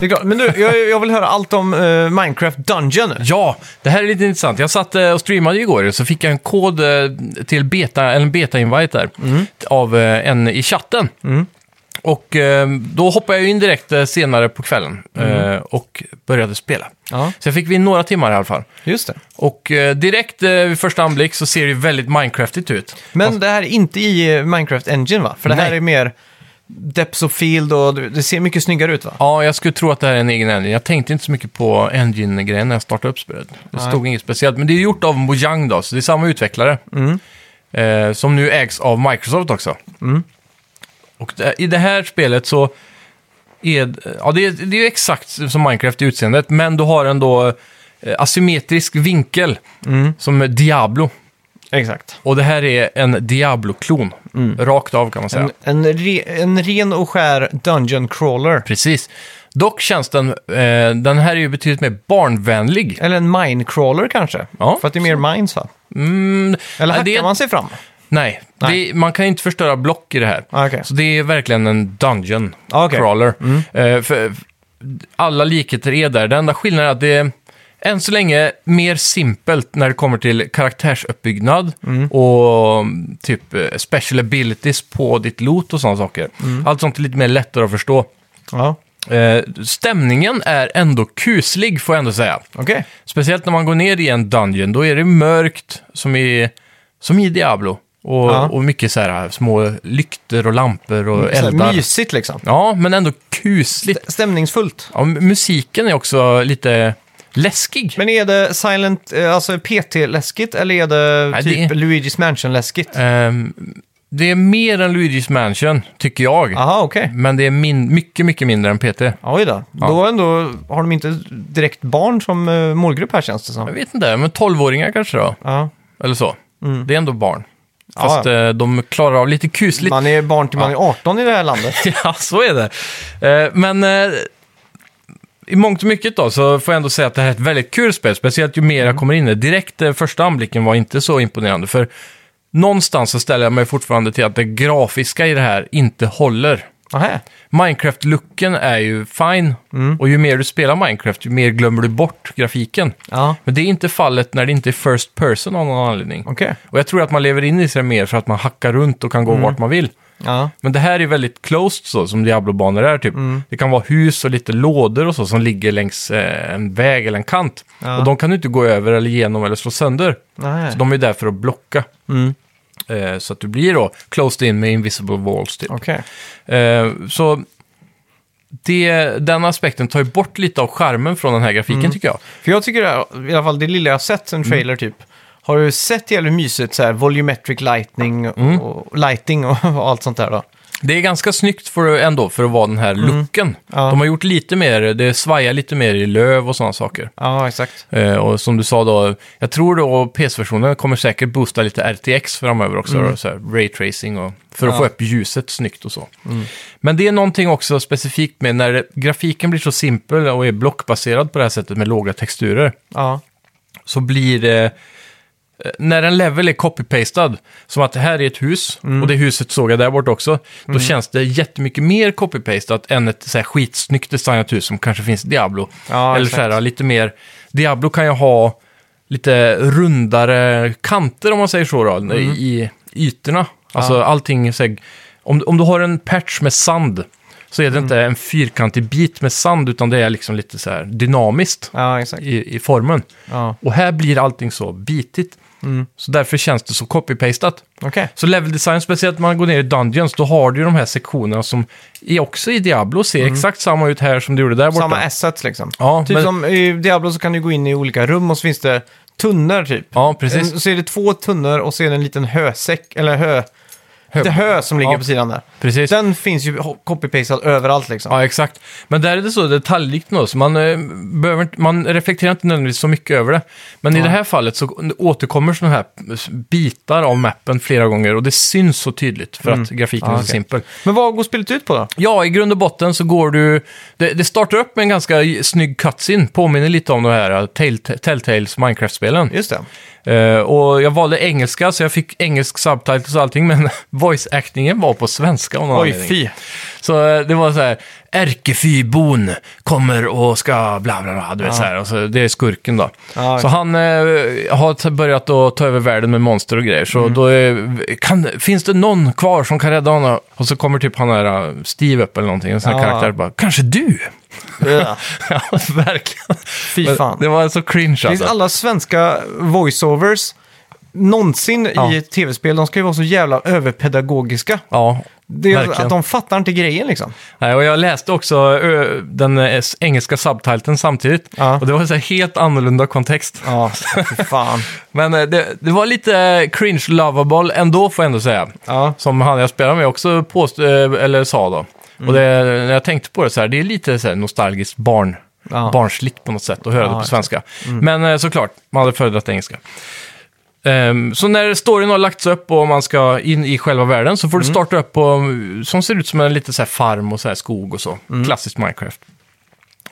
Speaker 1: Det är klart. Men nu, jag, jag vill höra allt om eh, Minecraft Dungeon.
Speaker 2: Ja, det här är lite intressant. Jag satt eh, och streamade igår så fick jag en kod eh, till beta, eller en beta-invite där av eh, en i chatten. Och eh, då hoppade jag in direkt eh, senare på kvällen eh, och började spela.
Speaker 1: Ja,
Speaker 2: Så jag fick vi in några timmar i alla fall.
Speaker 1: just det.
Speaker 2: Och eh, direkt eh, vid första anblick så ser det väldigt Minecraftigt ut.
Speaker 1: Men det här är inte i eh, Minecraft Engine va? För det här
Speaker 2: Nej.
Speaker 1: är mer Depths of Field och du- det ser mycket snyggare ut va?
Speaker 2: Ja, jag skulle tro att det här är en egen engine. Jag tänkte inte så mycket på engine-grejen när jag startade upp spelet. Det stod inget speciellt, men det är gjort av Mojang då, så det är samma utvecklare. Eh, som nu ägs av Microsoft också. Och det, i det här spelet så är ja, det, är- det är ju exakt som Minecraft i utseendet, men du har ändå eh, asymmetrisk vinkel som Diablo.
Speaker 1: Exakt.
Speaker 2: Och det här är en Diablo-klon. Rakt av kan man säga.
Speaker 1: En, en, re, en ren och skär dungeon crawler.
Speaker 2: Precis. Dock känns den, eh, den här är ju betydligt mer barnvänlig.
Speaker 1: Eller en mine crawler kanske.
Speaker 2: Ja,
Speaker 1: för att det är mer mines va?
Speaker 2: Mm,
Speaker 1: Eller
Speaker 2: nej,
Speaker 1: hackar
Speaker 2: det är-
Speaker 1: man sig fram?
Speaker 2: Nej, Det, man kan ju inte förstöra block i det här.
Speaker 1: Ah, okej.
Speaker 2: Så det är verkligen en dungeon
Speaker 1: Ah, okej.
Speaker 2: crawler. Eh, för, alla likheter är där. Den enda skillnaden är att det är än så länge mer simpelt när det kommer till karaktärsuppbyggnad och mm, typ eh, special abilities på ditt loot och sådana saker.
Speaker 1: Mm.
Speaker 2: Allt sånt är lite mer lättare att förstå.
Speaker 1: Ja,
Speaker 2: Eh, stämningen är ändå kuslig får jag ändå säga.
Speaker 1: okej.
Speaker 2: Speciellt när man går ner i en dungeon, då är det mörkt som i, som i Diablo. Och,
Speaker 1: Ja. Mm,
Speaker 2: och mycket så här äh, små lykter och lampor och
Speaker 1: Så här
Speaker 2: eldar.
Speaker 1: Mysigt liksom.
Speaker 2: Ja, men ändå kusligt.
Speaker 1: Stämningsfullt.
Speaker 2: Ja, m- musiken är också lite läskig.
Speaker 1: Men är det Silent, eh, alltså PT-läskigt eller är det
Speaker 2: Nej,
Speaker 1: typ
Speaker 2: det-
Speaker 1: Luigi's Mansion-läskigt?
Speaker 2: Ehm, det är mer än Luigi's Mansion, tycker jag.
Speaker 1: Jaha, okej.
Speaker 2: Men det är min- mycket, mycket mindre än PT.
Speaker 1: Oj då. Då ändå har de inte direkt barn som eh, målgrupp här känns det
Speaker 2: Jag
Speaker 1: som.
Speaker 2: vet inte, men 12-åringar kanske då?
Speaker 1: Ja.
Speaker 2: Eller så. Det är ändå barn.
Speaker 1: Mm. Ja,
Speaker 2: Fast
Speaker 1: ja.
Speaker 2: eh, de klarar av lite kusligt.
Speaker 1: Man är barn till man är 18 i det här landet.
Speaker 2: Ja, så är det. Eh, Men eh, i mångt och mycket då så får jag ändå säga att det här är ett väldigt kul spel. Speciellt ju
Speaker 1: Mm.
Speaker 2: mer jag kommer in i det. Direkt eh, första anblicken var inte så imponerande. För någonstans så ställer jag mig fortfarande till att det grafiska i det här inte håller.
Speaker 1: Nähä.
Speaker 2: Minecraft-looken är ju fine.
Speaker 1: Mm.
Speaker 2: Och ju mer du spelar Minecraft, ju mer glömmer du bort grafiken.
Speaker 1: Ja,
Speaker 2: Men det är inte fallet när det inte är first person av någon anledning.
Speaker 1: okej. Mm.
Speaker 2: Och jag tror att man lever in i sig mer för att man hackar runt och kan gå vart man vill.
Speaker 1: Ja.
Speaker 2: Men det här är väldigt closed så, som Diablo-banor är typ.
Speaker 1: Mm.
Speaker 2: Det kan vara hus och lite lådor och så som ligger längs eh, en väg eller en kant.
Speaker 1: Ja.
Speaker 2: Och de kan du inte gå över eller igenom eller slå sönder.
Speaker 1: Nej. Mm,
Speaker 2: Så de är där för att blocka. Eh, så att du blir då closed in med invisible walls typ.
Speaker 1: Okej.
Speaker 2: Eh, så det, den aspekten tar ju bort lite av skärmen från den här grafiken
Speaker 1: Mm.
Speaker 2: tycker jag.
Speaker 1: För jag tycker det här, i alla fall det lilla jag har sett, en
Speaker 2: Mm.
Speaker 1: trailer typ. Har du sett jävligt mysigt så här volumetric lightning och,
Speaker 2: Mm.
Speaker 1: och lighting och, och allt sånt där då?
Speaker 2: Det är ganska snyggt för, ändå för att vara den här looken.
Speaker 1: Mm. Ja.
Speaker 2: De har gjort lite mer, det svajar lite mer i löv och sådana saker.
Speaker 1: Ja, exakt.
Speaker 2: Eh, och som du sa då, jag tror då PS-versionen kommer säkert boosta lite RTX framöver också. då, Så här, ray tracing och för att
Speaker 1: Ja.
Speaker 2: få upp ljuset snyggt och så. Men det är någonting också specifikt med när det, grafiken blir så simpel och är blockbaserad på det här sättet med låga texturer.
Speaker 1: Ja,
Speaker 2: Så blir det, eh, när en level är copy-pastad, som att det här är ett hus
Speaker 1: Mm.
Speaker 2: och det huset såg jag där bort också. Då känns det jättemycket mer copy-pastat än ett så här, skitsnyggt designat hus som kanske finns i Diablo.
Speaker 1: Ja,
Speaker 2: Eller
Speaker 1: exakt.
Speaker 2: så här, lite mer... Diablo kan ju ha lite rundare kanter, om man säger så, då,
Speaker 1: Mm.
Speaker 2: i ytorna. Alltså allting... Så här, om, om du har en patch med sand så är det inte
Speaker 1: Mm.
Speaker 2: en fyrkantig bit med sand, utan det är liksom lite så här dynamiskt
Speaker 1: ja exakt.
Speaker 2: i, i formen.
Speaker 1: Ja.
Speaker 2: Och här blir allting så bitigt.
Speaker 1: Mm.
Speaker 2: Så därför känns det så copy-pastat.
Speaker 1: Okej.
Speaker 2: Så level design, speciellt när man går ner i Dungeons, då har du ju de här sektionerna som är också i Diablo ser exakt samma ut här som det gjorde där borta.
Speaker 1: Mm. Samma assets liksom.
Speaker 2: Ja,
Speaker 1: typ
Speaker 2: men-
Speaker 1: som i Diablo så kan du gå in i olika rum och så finns det tunnor typ.
Speaker 2: Ja, precis.
Speaker 1: En, så är det två tunnor och så är det en liten hösäck, eller hö... Lite hö som ligger
Speaker 2: Ja.
Speaker 1: på sidan där.
Speaker 2: Precis.
Speaker 1: Den finns ju ho- copy-pastad överallt liksom.
Speaker 2: Ja, exakt. Men där är det så detaljrikt nu, så man, eh, behöver, inte- man reflekterar inte nödvändigtvis så mycket över det. Men i det här fallet så återkommer sådana här bitar av mappen flera gånger och det syns så tydligt för att grafiken
Speaker 1: Ja, Mm. Ah,
Speaker 2: är så
Speaker 1: okej.
Speaker 2: simpel.
Speaker 1: Men vad går spelet ut på då?
Speaker 2: Ja, i grund och botten så går du... Det, det startar upp med en ganska snygg cutscene, påminner lite om de här eh, Tell- Telltales Minecraft-spelen.
Speaker 1: Just det.
Speaker 2: Eh, och jag valde engelska, så jag fick engelsk subtitles och allting, men voice-actingen var på svenska av någon
Speaker 1: Oj,
Speaker 2: anledning.
Speaker 1: fy.
Speaker 2: Så eh, det var så här, ärkefybon kommer och ska bla bla bla, du vet så här. Och så, det är skurken då.
Speaker 1: Ja,
Speaker 2: så
Speaker 1: okej.
Speaker 2: han eh, har t- börjat att ta över världen med monster och grejer. Så
Speaker 1: Mm.
Speaker 2: då är, kan, finns det någon kvar som kan rädda honom? Och så kommer typ han här eh, Steve upp eller någonting, en sån här
Speaker 1: Ja.
Speaker 2: karaktär bara, kanske du?
Speaker 1: Ja.
Speaker 2: ja, verkligen.
Speaker 1: Fy
Speaker 2: Men
Speaker 1: fan.
Speaker 2: Det var så cringe
Speaker 1: Finns
Speaker 2: alltså.
Speaker 1: alla svenska voiceovers någonsin
Speaker 2: Ja.
Speaker 1: i tv-spel, de ska ju vara så jävla överpedagogiska.
Speaker 2: Ja,
Speaker 1: Det är
Speaker 2: verkligen.
Speaker 1: att de fattar inte grejen liksom.
Speaker 2: Nej, och jag läste också ö, den eh, s- engelska subtiteln samtidigt.
Speaker 1: Ja.
Speaker 2: Och det var så här helt annorlunda kontext.
Speaker 1: Ja, fy fan.
Speaker 2: Men eh, det, det var lite eh, cringe lovable ändå får jag ändå säga.
Speaker 1: Ja.
Speaker 2: Som han jag spelade med också
Speaker 1: Mm.
Speaker 2: påst- eh, eller sa då. Och det, när jag tänkte på det så här, det är lite så här nostalgiskt barn.
Speaker 1: Ja. Mm.
Speaker 2: barnsligt på något sätt att höra det på
Speaker 1: exakt.
Speaker 2: svenska. Men eh, såklart, man hade föredragit engelska. Ehm, så när storyn har lagts upp och man ska in i själva världen så får du starta upp på, mm, som ser ut som en liten så här farm och så här skog och så.
Speaker 1: Mm.
Speaker 2: Klassiskt Minecraft.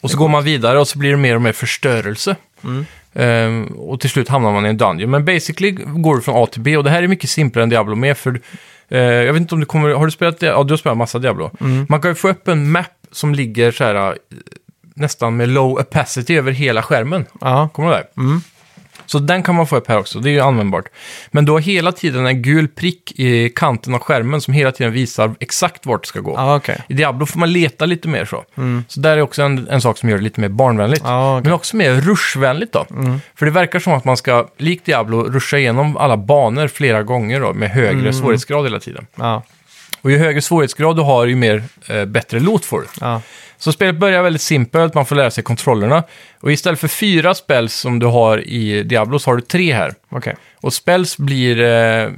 Speaker 2: Och så går man vidare och så blir det mer och mer förstörelse.
Speaker 1: Mm.
Speaker 2: Ehm, och till slut hamnar man i en dungeon. Men basically går du från A till B och det här är mycket simplare än Diablo med. För, eh, jag vet inte om du kommer, har du spelat, Dia- ja du har spelat massa Diablo.
Speaker 1: Mm.
Speaker 2: Man kan ju få upp en map som ligger så här eh, nästan med low opacity över hela skärmen.
Speaker 1: Ja. Mm.
Speaker 2: Kommer du ihåg det? Så den kan man få upp här också, det är ju användbart. Men du har hela tiden en gul prick i kanten av skärmen som hela tiden visar exakt vart det ska gå.
Speaker 1: Ja, okej.
Speaker 2: I Diablo får man leta lite mer så. Så där är också en, en sak som gör det lite mer barnvänligt.
Speaker 1: Mm. Ja, okej. Mm.
Speaker 2: Men också mer rushvänligt då. För det verkar som att man ska, likt Diablo, ruscha igenom alla banor flera gånger då, med högre
Speaker 1: Mm.
Speaker 2: svårighetsgrad hela tiden.
Speaker 1: Ja.
Speaker 2: Och ju högre svårighetsgrad du har, ju mer, eh, bättre loot får du.
Speaker 1: Ja.
Speaker 2: Så spelet börjar väldigt simpelt, man får lära sig kontrollerna. Och istället för fyra spells som du har i Diablo så har du tre här.
Speaker 1: Okej.
Speaker 2: Och spells blir eh,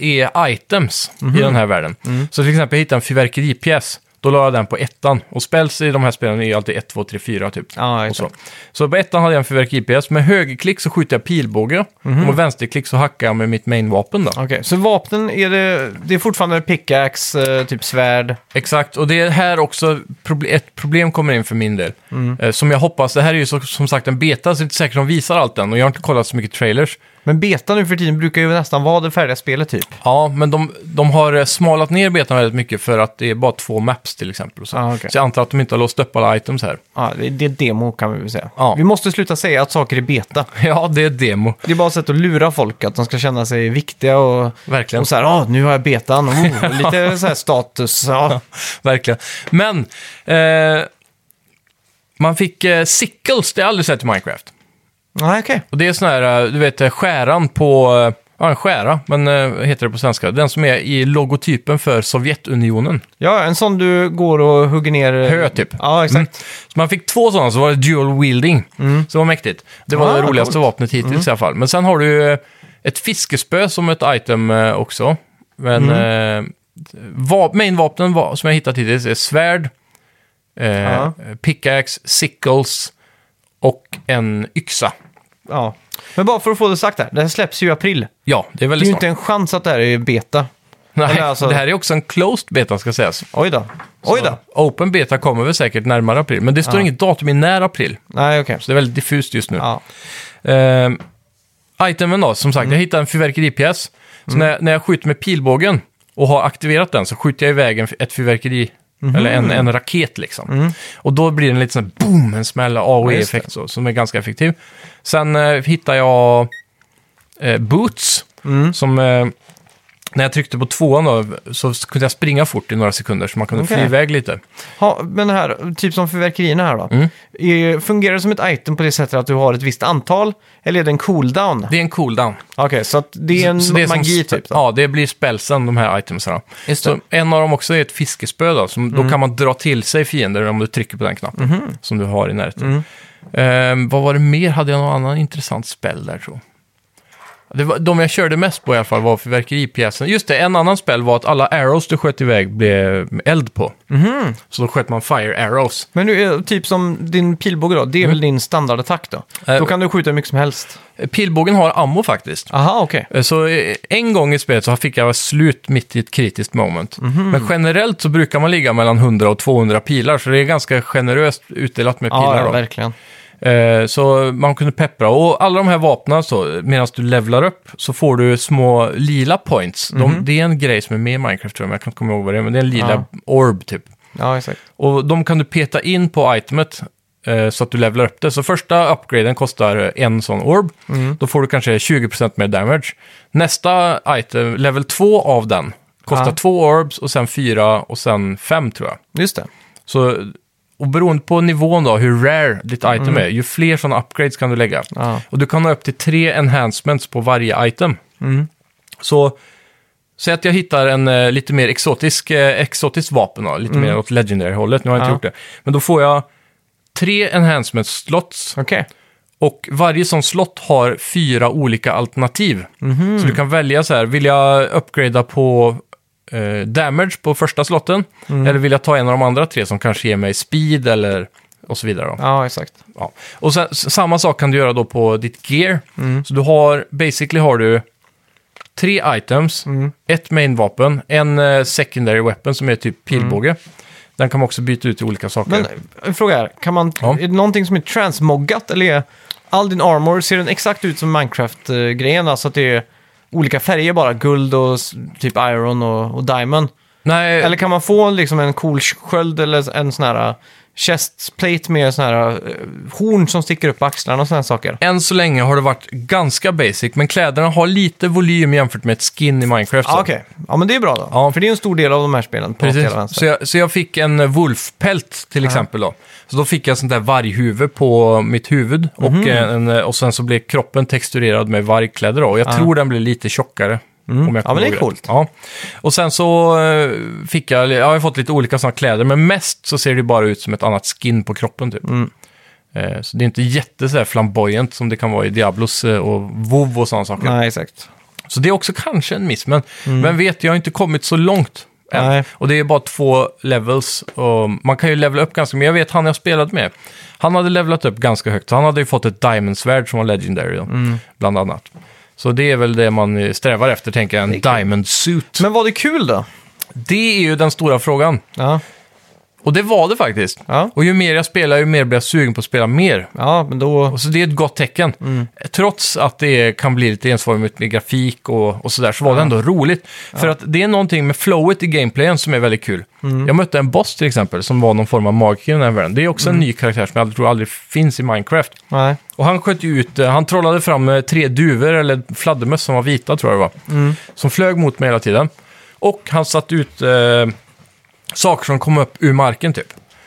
Speaker 2: är items
Speaker 1: Mhm.
Speaker 2: i den här världen.
Speaker 1: Mm.
Speaker 2: Så till exempel jag hittade en fyrverkeripjäs, då la jag den på ettan. Och spells i de här spelen är ju alltid 1, 2, 3, 4 typ.
Speaker 1: Ja,
Speaker 2: och
Speaker 1: exakt.
Speaker 2: så. så på ettan hade jag en fyrverkeripjäs, med högerklick så skjuter jag pilbåge. Och med vänsterklick så hackar jag med mitt mainvapen då.
Speaker 1: Mhm. Okej, så vapnen är det, det är fortfarande pickaxe, eh, typ svärd.
Speaker 2: Exakt, och det är här också proble- ett problem kommer in för min del.
Speaker 1: Mm.
Speaker 2: Eh, Som jag hoppas, det här är ju så, som sagt en beta, så det är inte säkert de visar allt än. Och jag har inte kollat så mycket trailers.
Speaker 1: Men beta nu för tiden brukar ju nästan vara det färdiga spelet typ.
Speaker 2: Ja, men de, de har eh, smalat ner betan väldigt mycket för att det är bara två maps till exempel. Och så.
Speaker 1: Ah, okej.
Speaker 2: så jag antar att de inte har låst upp alla items här.
Speaker 1: Ja, det det är demo kan vi väl säga.
Speaker 2: Ja.
Speaker 1: Vi måste sluta säga att saker är beta.
Speaker 2: Ja, det är demo.
Speaker 1: Det är bara ett sätt att lura folk att de ska känna sig viktiga och,
Speaker 2: Verkligen.
Speaker 1: och så här, ah, nu har jag betan, oh, och lite så här status. Ja.
Speaker 2: Verkligen. Men, eh, man fick eh, sickles, det har jag aldrig sett i Minecraft.
Speaker 1: Nej, okej.
Speaker 2: Och det är sån här, eh, du vet, eh, skäran på... eh, Ja, en skära, men eh, vad heter det på svenska? Den som är i logotypen för Sovjetunionen.
Speaker 1: Ja, en sån du går och hugger ner... eh,
Speaker 2: Hö, typ.
Speaker 1: Ja, exakt. Mm.
Speaker 2: Mm. Så man fick två sådana, så var det dual wielding. Så det var mäktigt. Det var
Speaker 1: Ah,
Speaker 2: det roligaste
Speaker 1: coolt. Mm.
Speaker 2: vapnet hittills i alla fall. Men sen har du ju eh, ett fiskespö som ett item eh, också. Men
Speaker 1: Mm.
Speaker 2: eh, va- mainvapnen va- som jag hittat hittills är svärd, eh,
Speaker 1: Ja.
Speaker 2: pickaxe, sickles och en yxa.
Speaker 1: Ja. Men bara för att få det sagt här, det här släpps ju i april.
Speaker 2: Ja, det är
Speaker 1: Det är
Speaker 2: väldigt
Speaker 1: ju
Speaker 2: snart.
Speaker 1: inte en chans att det här är beta.
Speaker 2: Nej,
Speaker 1: eller alltså-
Speaker 2: Det här är också en closed beta ska sägas.
Speaker 1: Oj då. Oj då.
Speaker 2: Open beta kommer väl säkert närmare april, men det
Speaker 1: Ah.
Speaker 2: står inget datum i när april.
Speaker 1: Nej, okej.
Speaker 2: Så det är väldigt diffust just nu.
Speaker 1: Ja.
Speaker 2: Eh, itemen då, som sagt,
Speaker 1: Mm.
Speaker 2: jag hittade en fyrverkeripjäs. Så när, när jag skjuter med pilbågen och har aktiverat den så skjuter jag iväg en, ett fyrverkeri,
Speaker 1: Mm-hmm.
Speaker 2: eller en, en raket liksom. Och då blir det en liten sån här boom, en smäll,
Speaker 1: Mm. Ja,
Speaker 2: AOE-effekt så, som är ganska effektiv. Sen eh, hittar jag eh, boots,
Speaker 1: Mm.
Speaker 2: som... Eh, när jag tryckte på tvåan då, så kunde jag springa fort i några sekunder, så man kunde
Speaker 1: Okej.
Speaker 2: fly iväg lite.
Speaker 1: Ha, men det här, typ som fyrverkerierna här då.
Speaker 2: Mm.
Speaker 1: Är- Fungerar det som ett item på det sättet att du har ett visst antal? Eller är det en cooldown?
Speaker 2: Det är en cooldown.
Speaker 1: Okej, så att det är en
Speaker 2: Så det är som
Speaker 1: magi
Speaker 2: spe-
Speaker 1: typ då?
Speaker 2: Ja, det blir spelsen, de här itemsen.
Speaker 1: Just Mm.
Speaker 2: Så en av dem också är ett fiskespö då, som, då kan man dra till sig fiender om du trycker på den knappen
Speaker 1: Mhm.
Speaker 2: som du har i närheten.
Speaker 1: Mm.
Speaker 2: Ehm, vad var det mer? Hade jag någon annan intressant spel där tror jag? det var, De jag körde mest på i alla fall var fyrverkeripjäsen. Just det, en annan spel var att alla arrows du sköt iväg blev eld på.
Speaker 1: Mhm.
Speaker 2: Så då sköt man fire arrows.
Speaker 1: Men nu, är- typ som din pilbåge då, det är väl din standardattack då?
Speaker 2: Mm. Eh,
Speaker 1: Då kan du skjuta hur mycket som helst.
Speaker 2: Pilbågen har ammo faktiskt.
Speaker 1: Aha, okej.
Speaker 2: Så eh, en gång i spelet så fick jag slut mitt i ett kritiskt moment.
Speaker 1: Mhm.
Speaker 2: Men generellt så brukar man ligga mellan 100 och 200 pilar, så det är ganska generöst utdelat med
Speaker 1: Ja,
Speaker 2: pilar.
Speaker 1: ja,
Speaker 2: då.
Speaker 1: verkligen.
Speaker 2: Eh, Så man kunde peppra. Och alla de här vapnen, så, medan du levlar upp, så får du små lila points. De, det är en grej som är med i Minecraft, tror jag, men jag kan inte komma ihåg vad det är. Men det är en lila
Speaker 1: Mhm. Ja.
Speaker 2: orb, typ.
Speaker 1: Ja, exakt.
Speaker 2: Och de kan du peta in på itemet eh, så att du levelar upp det. Så första upgraden kostar eh, en sån orb. Då får du kanske 20% mer damage. Nästa item, level 2 av den, kostar
Speaker 1: Ja.
Speaker 2: två orbs och sen fyra och sen fem tror jag.
Speaker 1: Just det.
Speaker 2: Så, och beroende på nivån då, hur rare ditt item är, ju fler sådana upgrades kan du lägga.
Speaker 1: Mm. Ja.
Speaker 2: Och du kan ha upp till tre enhancements på varje item.
Speaker 1: Mm.
Speaker 2: Så säg att jag hittar en eh, lite mer exotisk, eh, exotiskt vapen då, lite mer åt legendary-hållet, nu har jag
Speaker 1: Mm. Ja.
Speaker 2: inte gjort det. Men då får jag tre enhancements slots
Speaker 1: Okej.
Speaker 2: och varje sån slott har fyra olika alternativ.
Speaker 1: Mhm.
Speaker 2: Så du kan välja så här, vill jag uppgradera på
Speaker 1: Mm.
Speaker 2: eh, damage på första slotten? Eller vill jag ta en av de andra tre som kanske ger mig speed eller och så vidare. Då.
Speaker 1: Ja, exakt.
Speaker 2: Ja. Och sen, s- samma sak kan du göra då på ditt gear.
Speaker 1: Mm.
Speaker 2: Så du har, basically har du tre items,
Speaker 1: Mm.
Speaker 2: ett main-vapen, en eh, secondary weapon som är typ pilbåge. Den kan man också byta ut till olika saker.
Speaker 1: Mm. Men en fråga är, kan man,
Speaker 2: Ja.
Speaker 1: är det någonting som är transmoggat eller är all din armor, ser den exakt ut som Minecraft-grejen? Alltså att det är olika färger bara, guld och s- typ iron och, och diamond.
Speaker 2: Eh. Nej,
Speaker 1: Eller kan man få liksom en cool sköld eller en sån här eh, chestplate med sån här eh, horn som sticker upp på axlarna och såna här saker?
Speaker 2: än så länge har det varit ganska basic, men kläderna har lite volym jämfört med ett skin i Minecraft. så.
Speaker 1: Ja, Ah, okej. Ja, men det är bra då.
Speaker 2: Ja.
Speaker 1: För det är ju en stor del av de här spelen. På
Speaker 2: Precis.
Speaker 1: hela vänster.
Speaker 2: Så jag, så jag fick en eh, wolfpält till exempel då. Så då fick jag sånt där varghuvud på mitt huvud
Speaker 1: Mhm.
Speaker 2: och, eh, en, eh, och sen så blev kroppen texturerad med vargkläder då. Och jag tror den blev lite tjockare. Om jag
Speaker 1: Mm. Ja, men
Speaker 2: kommer
Speaker 1: det är
Speaker 2: ihåg rätt.
Speaker 1: coolt.
Speaker 2: Ja. Och sen så eh, fick jag, jag har fått lite olika sådana kläder, men mest så ser det bara ut som ett annat skin på kroppen typ.
Speaker 1: Mm.
Speaker 2: Eh, Så det är inte jätte så här flamboyant som det kan vara i Diablos eh, och WoW och sådana saker.
Speaker 1: Nej, exakt.
Speaker 2: Så det är också kanske en miss, men vem vet, jag har inte kommit så långt än.
Speaker 1: Mm. Nej.
Speaker 2: Och det är bara två levels. Och man kan ju levela upp ganska mycket. Jag vet han jag spelat med, han hade levlat upp ganska högt. Så han hade ju fått ett diamondsvärd som var legendary, då,
Speaker 1: Mm.
Speaker 2: bland annat. Så det är väl det man eh, strävar efter, tänker jag, en diamond suit.
Speaker 1: Men var det kul då?
Speaker 2: Det är ju den stora frågan.
Speaker 1: Ja,
Speaker 2: Och det var det faktiskt.
Speaker 1: Ja.
Speaker 2: Och ju mer jag spelar, ju mer blir jag sugen på att spela mer.
Speaker 1: ja men då...
Speaker 2: Och så det är ett gott tecken. Trots att det kan bli lite ensformigt med grafik och, och sådär, så var det ändå roligt. För att det är någonting med flowet i gameplayen som är väldigt kul. Jag mötte en boss till exempel, som var någon form av magiker i den här världen. Det är också en ny karaktär som jag aldrig- tror aldrig finns i Minecraft.
Speaker 1: Nej.
Speaker 2: Och han sköt ju ut, eh, han trollade fram eh, tre duvor, eller fladdermöss som var vita tror jag det var. Som flög mot mig hela tiden. Och han satte ut eh, saker som kom upp ur marken typ.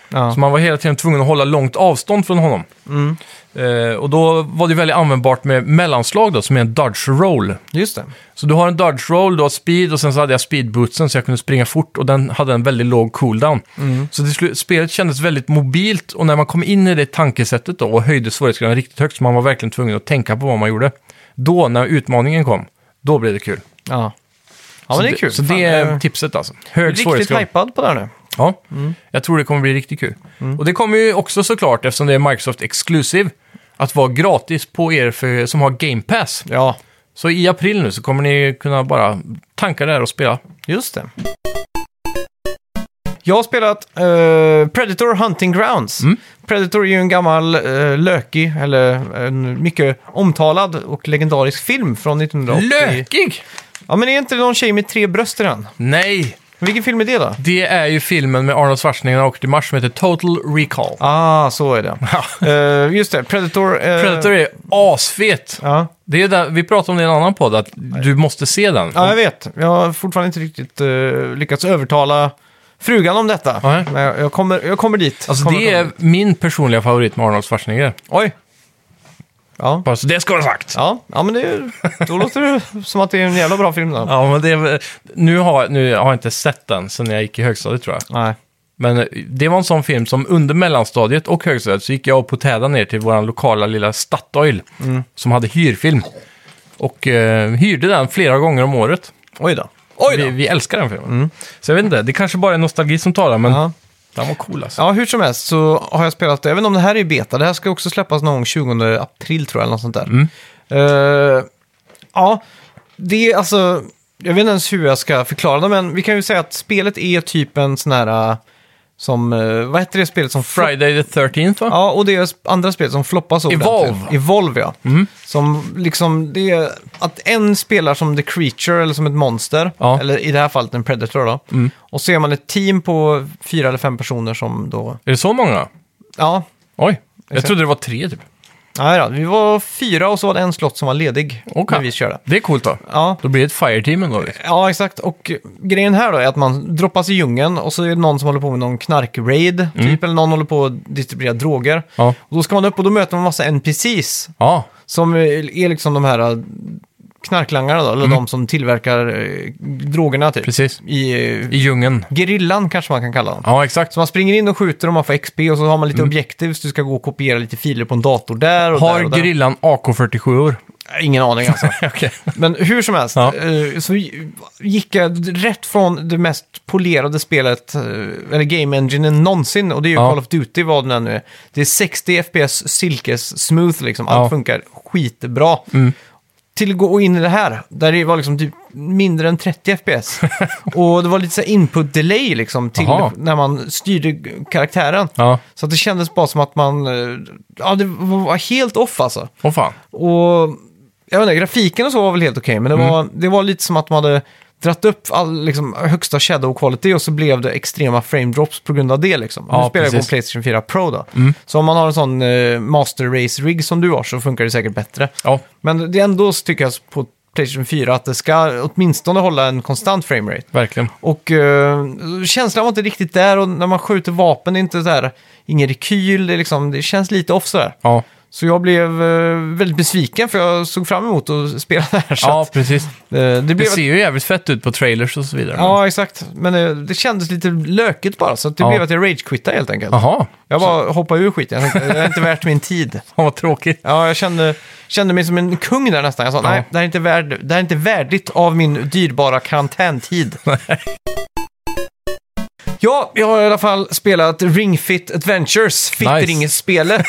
Speaker 1: Ja.
Speaker 2: Så man var hela tiden tvungen att hålla långt avstånd från honom.
Speaker 1: Mm.
Speaker 2: Eh, och då var det väldigt användbart med mellanslag då, som är en dodge roll.
Speaker 1: Just det.
Speaker 2: Så du har en dodge roll, du har speed och sen så hade jag speedbootsen så jag kunde springa fort och den hade en väldigt låg cooldown.
Speaker 1: Mm.
Speaker 2: Så till slut, spelet kändes väldigt mobilt och när man kom in i det tankesättet då och höjde svårighetsgraden riktigt högt så man var verkligen tvungen att tänka på vad man gjorde. Då, när utmaningen kom, då blev det kul.
Speaker 1: Ja. Ja,
Speaker 2: så
Speaker 1: men det är kul.
Speaker 2: Så
Speaker 1: Fan,
Speaker 2: det är
Speaker 1: jag-
Speaker 2: tipset alltså. Hög
Speaker 1: Riktigt
Speaker 2: svårighetsgrad.
Speaker 1: hypad på det här nu.
Speaker 2: Ja, jag tror det kommer bli riktigt kul. Och det kommer ju också såklart, eftersom det är Microsoft Exclusive, att vara gratis på er för, som har Game Pass.
Speaker 1: Ja,
Speaker 2: Så i april nu så kommer ni kunna bara tanka det här och spela.
Speaker 1: just det. Jag har spelat eh, Predator Hunting Grounds. Predator är ju en gammal eh, lökig, eller eh, en mycket omtalad och legendarisk film från 1980.
Speaker 2: Lökig!
Speaker 1: Ja, men är inte det någon tjej med tre bröst i den?
Speaker 2: Nej,
Speaker 1: Vilken film är det då?
Speaker 2: det är ju filmen med Arnold Schwarzenegger när han åker till Mars som heter Total Recall.
Speaker 1: Ah, så är det. Eh, just det, Predator... eh,
Speaker 2: Predator är asfet!
Speaker 1: Ja.
Speaker 2: Det är där, vi pratade om det i en annan podd, att du måste se den.
Speaker 1: ja, jag vet. Jag har fortfarande inte riktigt eh, lyckats övertala frugan om detta.
Speaker 2: Nej.
Speaker 1: Men jag, jag, kommer, jag kommer dit.
Speaker 2: Alltså
Speaker 1: kommer,
Speaker 2: det är
Speaker 1: kommer.
Speaker 2: min personliga favorit med Arnold Schwarzenegger.
Speaker 1: Oj! Ja.
Speaker 2: Bara så det ska vara sagt!
Speaker 1: Ja, ja men det är, då låter det som att det är en jävla bra film. Då.
Speaker 2: Ja, men det är, väl- nu, har, nu har jag inte sett den sen jag gick i högstadiet tror jag.
Speaker 1: Nej.
Speaker 2: Men eh, det var en sån film som under mellanstadiet och högstadiet så gick jag och Potäda ner till vår lokala lilla Statoil
Speaker 1: Mm.
Speaker 2: som hade hyrfilm. Och eh, hyrde den flera gånger om året.
Speaker 1: Oj då. Oj
Speaker 2: Vi, vi älskar den filmen. Så jag vet inte, det kanske bara är nostalgi som talar, men
Speaker 1: Ja.
Speaker 2: den var cool alltså.
Speaker 1: Ja, hur som helst så har jag spelat det, även om det här är beta. Det här ska också släppas någon gång 20 april tror jag, eller något sånt där.
Speaker 2: Mm.
Speaker 1: Eh, ja, det är alltså, jag vet inte ens hur jag ska förklara det, men vi kan ju säga att spelet är typ en sån här, eh, som, eh, vad heter det spelet som... fl-
Speaker 2: Friday the 13th va?
Speaker 1: Ja, och det är andra spelet som floppas ordentligt.
Speaker 2: Evolve. Mm.
Speaker 1: Evolve, ja. Som liksom, det är att en spelar som the creature eller som ett monster,
Speaker 2: Ja. Mm.
Speaker 1: eller i det här fallet en predator då. Och så är man ett team på fyra eller fem personer som då,
Speaker 2: Är det så många?
Speaker 1: ja,
Speaker 2: Oj, jag
Speaker 1: Exakt.
Speaker 2: trodde det var tre typ.
Speaker 1: nej då, vi var fyra och så var det en slott som var ledig
Speaker 2: Okej.
Speaker 1: när vi körde.
Speaker 2: Det är coolt då.
Speaker 1: Ja.
Speaker 2: Då blir det ett fireteam ändå. Liksom.
Speaker 1: Ja, exakt. Och grejen här då är att man droppas i djungeln och så är det någon som håller på med någon knark-raid, typ, eller någon håller på att distribuera droger.
Speaker 2: Mm. Ja.
Speaker 1: Och då ska man upp och då möter man massa NPCs
Speaker 2: Ja,
Speaker 1: Som är är liksom de här eh, knarklangarna då, eller de som tillverkar eh, drogerna typ.
Speaker 2: Mm. precis.
Speaker 1: I eh,
Speaker 2: I djungeln.
Speaker 1: gerillan kanske man kan kalla dem.
Speaker 2: Ja, exakt.
Speaker 1: Så man springer in och skjuter och man får XP och så har man lite objektiv så du ska gå och kopiera lite filer på en dator där och där
Speaker 2: Har
Speaker 1: och där.
Speaker 2: grillan AK47 or
Speaker 1: Ingen aning alltså.
Speaker 2: Okej.
Speaker 1: Men hur som helst,
Speaker 2: Ja.
Speaker 1: eh, så gick jag rätt från det mest polerade spelet, eh, eller game enginen någonsin, och det är ju
Speaker 2: Ja.
Speaker 1: Call of Duty vad det än nu är. Det är 60 FPS silkes smooth liksom, allt
Speaker 2: Ja. Mm.
Speaker 1: funkar skitbra. Till att gå in i det här, där det var liksom typ mindre än 30 FPS. och det var lite så här input delay liksom, till
Speaker 2: Jaha.
Speaker 1: när man styrde karaktären.
Speaker 2: Ja,
Speaker 1: Så att det kändes bara som att man, eh, ja det var helt off alltså.
Speaker 2: åh fan.
Speaker 1: Och jag vet inte, grafiken och så var väl helt okej, men
Speaker 2: Mm.
Speaker 1: det, var, det var lite som att man hade dratt upp all, liksom, högsta shadow quality och så blev det extrema frame drops på grund av det. Liksom.
Speaker 2: Ja,
Speaker 1: nu spelar jag på
Speaker 2: precis. Mm.
Speaker 1: Playstation 4 Pro då. Så om man har en sån eh, master race rig som du har så funkar det säkert bättre.
Speaker 2: Ja,
Speaker 1: Men det är ändå så tycker jag på Playstation 4 att det ska åtminstone hålla en konstant framerate.
Speaker 2: verkligen.
Speaker 1: Och eh, känslan var inte riktigt där och när man skjuter vapen det är inte så här, ingen rekyl, det, är liksom, det känns lite off sådär.
Speaker 2: Ja,
Speaker 1: Så jag blev eh, väldigt besviken för jag såg fram emot att spela det här. Så
Speaker 2: ja
Speaker 1: att,
Speaker 2: precis.
Speaker 1: eh, det
Speaker 2: Det
Speaker 1: blev...
Speaker 2: ser ju jävligt fett ut på trailers och så vidare.
Speaker 1: Ja, exakt. Men eh, det kändes lite lökigt bara, så att det
Speaker 2: Ja.
Speaker 1: blev att jag ragequittade helt enkelt.
Speaker 2: Jaha,
Speaker 1: Jag bara hoppade ur skiten. Jag tänkte, det är inte värt min tid.
Speaker 2: fan vad tråkigt.
Speaker 1: Ja, jag kände, kände mig som en kung där nästan. Jag sa,
Speaker 2: Ja.
Speaker 1: nej, det här, är inte värd, det här är inte värdigt av min dyrbara karantäntid. Ja, jag har i alla fall spelat Ring Fit Adventures, Fittring-spelet.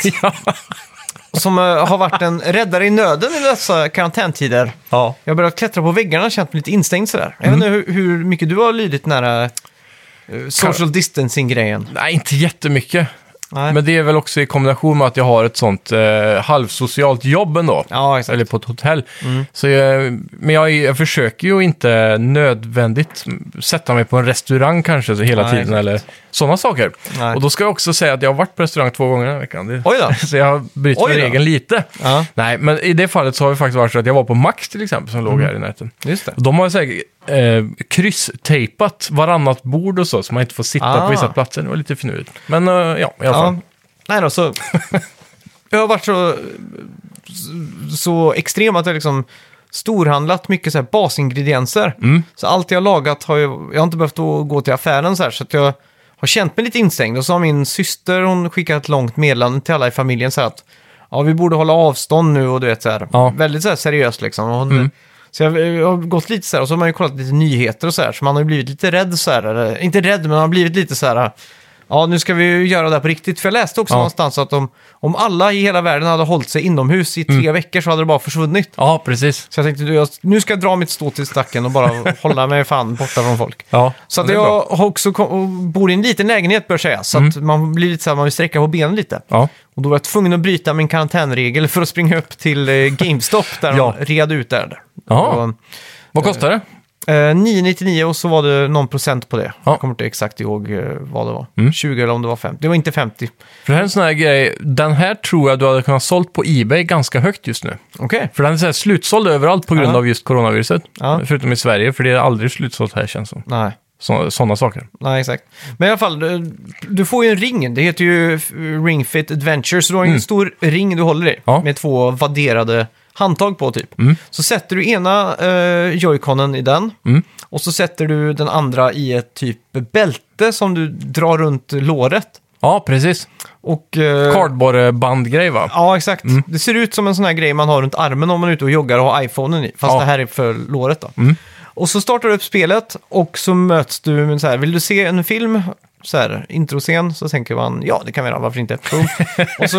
Speaker 1: Som eh, har varit en räddare i nöden i dessa karantäntider.
Speaker 2: Ja. Mm.
Speaker 1: Jag har börjat klättra på väggarna och känt mig lite instängd sådär. Jag vet inte hur, hur mycket du har lidit nära uh, social distancing-grejen.
Speaker 2: Nej, inte jättemycket.
Speaker 1: Nej.
Speaker 2: Men det är väl också i kombination med att jag har ett sånt eh, halvsocialt jobb ändå.
Speaker 1: Ja, exakt.
Speaker 2: Eller på ett hotell.
Speaker 1: Mm.
Speaker 2: Så jag, men jag, är- jag försöker ju inte nödvändigt sätta mig på en restaurang kanske så hela
Speaker 1: Nej,
Speaker 2: tiden.
Speaker 1: exakt.
Speaker 2: Eller sådana saker.
Speaker 1: Nej.
Speaker 2: Och då ska jag också säga att jag har varit på restaurang två gånger den här veckan. Det,
Speaker 1: Oj då.
Speaker 2: så jag bryter
Speaker 1: Oj
Speaker 2: mot
Speaker 1: då.
Speaker 2: regeln lite.
Speaker 1: Ja.
Speaker 2: Nej, men i det fallet så har det faktiskt varit så att jag var på Max till exempel som
Speaker 1: Mm.
Speaker 2: låg här i närheten.
Speaker 1: Just det.
Speaker 2: Och De har säkert eh, krysstejpat varannat bord och så, så man inte får sitta
Speaker 1: Ah.
Speaker 2: på vissa platser. Det var lite finurligt. Men eh, ja, i alla fall.
Speaker 1: Ja. Nej då, så... jag har varit så, så extrem att jag liksom storhandlat mycket så här basingredienser.
Speaker 2: Mm.
Speaker 1: Så allt jag har lagat har jag, jag har inte behövt å- gå till affären så här, så att jag har känt mig lite instängd. Och så har min syster, hon skickat ett långt meddelande till alla i familjen så här att ja, vi borde hålla avstånd nu och du vet så här.
Speaker 2: Ja.
Speaker 1: Väldigt så här seriöst liksom. Och hon,
Speaker 2: Mm.
Speaker 1: Så jag, jag har gått lite så här och så har man ju kollat lite nyheter och så här. Så man har ju blivit lite rädd så här. Eller, inte rädd, men man har blivit lite så här. Ja, nu ska vi ju göra det här på riktigt. För jag läste också
Speaker 2: Ja.
Speaker 1: någonstans att om, om alla i hela världen hade hållit sig inomhus i tre
Speaker 2: Mm.
Speaker 1: veckor så hade det bara försvunnit.
Speaker 2: Ja, precis.
Speaker 1: Så jag tänkte, du, jag, nu ska jag dra mitt stå till stacken och bara hålla mig fan borta från folk.
Speaker 2: Ja,
Speaker 1: Så att
Speaker 2: det är
Speaker 1: jag
Speaker 2: bra. Mm.
Speaker 1: har också kom, och bor i en liten lägenhet bör sägas, så att man blir lite så här, man vill sträcka på benen lite.
Speaker 2: Ja.
Speaker 1: Och då var jag tvungen att bryta min karantänregel för att springa upp till eh, GameStop där
Speaker 2: Ja.
Speaker 1: de red ut där.
Speaker 2: Jaha.
Speaker 1: Och,
Speaker 2: Vad kostar det?
Speaker 1: eh, 999 och så var det någon procent på det.
Speaker 2: Ja. Mm.
Speaker 1: Jag kommer inte exakt ihåg eh, vad det var. 20 eller om det var 50. Det var inte 50.
Speaker 2: För det här är en sån här grej, den här tror jag du hade kunnat sålt på Ebay ganska högt just nu.
Speaker 1: Okej.
Speaker 2: För den är så här slutsåld överallt på grund
Speaker 1: Ja.
Speaker 2: av just coronaviruset.
Speaker 1: Ja.
Speaker 2: Förutom i Sverige, för det är aldrig slutsålt här känns som.
Speaker 1: Nej.
Speaker 2: Sådana saker.
Speaker 1: Nej, exakt. Men i alla fall, du, du får ju en ring. Det heter ju f- Ring Fit Adventure, så du har ju en stor ring du håller i
Speaker 2: Ja.
Speaker 1: med två vadderade handtag på typ. Så sätter du ena eh, joyconen i den och så sätter du den andra i ett typ bälte som du drar runt låret.
Speaker 2: Ja, precis.
Speaker 1: Och, eh,
Speaker 2: Cardboard-bandgrej va?
Speaker 1: Ja, exakt. Det ser ut som en sån här grej man har runt armen om man är ute och joggar och har iPhonen i. Fast
Speaker 2: Ja.
Speaker 1: det här är för låret då. Och så startar du upp spelet och så möts du med så här, vill du se en film? Så här, introscen, så tänker man, ja det kan vi göra, varför inte? Boom. och så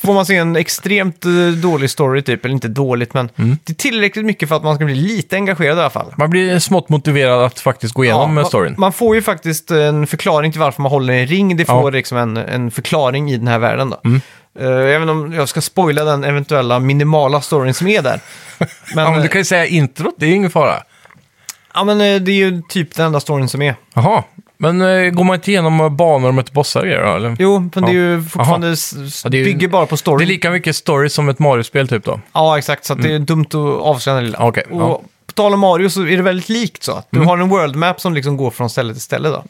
Speaker 1: får man se en extremt eh, dålig story typ, eller inte dåligt men det är tillräckligt mycket för att man ska bli lite engagerad i alla fall.
Speaker 2: Man blir smått motiverad att faktiskt gå igenom
Speaker 1: Ja,
Speaker 2: eh,
Speaker 1: man-
Speaker 2: storyn.
Speaker 1: Man får ju faktiskt en förklaring till varför man håller en ring. Det
Speaker 2: Ja. Mm.
Speaker 1: får liksom en, en förklaring i den här världen då. Eh, även om jag ska spoila den eventuella minimala storyn som är där. Men,
Speaker 2: ja, men du
Speaker 1: eh,
Speaker 2: kan ju säga introt, det är ingen fara.
Speaker 1: ja, men eh, det är ju typ den enda storyn som är.
Speaker 2: Jaha, men eh, går man inte igenom banor och möter bossar och grejer då, eller?
Speaker 1: Jo, men det är ju
Speaker 2: Ja.
Speaker 1: fortfarande
Speaker 2: Jaha.
Speaker 1: s- s-
Speaker 2: Ja, det är ju-
Speaker 1: bygger bara på storyn.
Speaker 2: Det är lika mycket story som ett Mario-spel typ då?
Speaker 1: Ja, exakt. Så att det är dumt att avslöja den lilla.
Speaker 2: Okej,
Speaker 1: och
Speaker 2: ja. Mm.
Speaker 1: på tal om Mario så är det väldigt likt så. Du har en world map som liksom går från ställe till ställe då.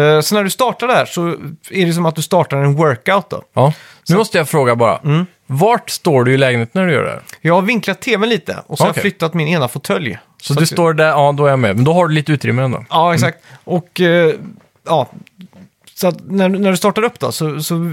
Speaker 1: Eh, så när du startar där så är det som att du startar en workout då.
Speaker 2: Ja. Nu måste jag fråga bara.
Speaker 1: Mm.
Speaker 2: Vart står du i lägenheten när du gör det här?
Speaker 1: Jag har vinklat tvn lite och så har jag
Speaker 2: Okej.
Speaker 1: flyttat min ena fåtölj.
Speaker 2: Så,
Speaker 1: Så
Speaker 2: du
Speaker 1: att-
Speaker 2: står där, ja då är jag med. Men då har du lite utrymme ändå.
Speaker 1: Ja, exakt. Och eh, ja, Så att när, när du startar upp då, så, så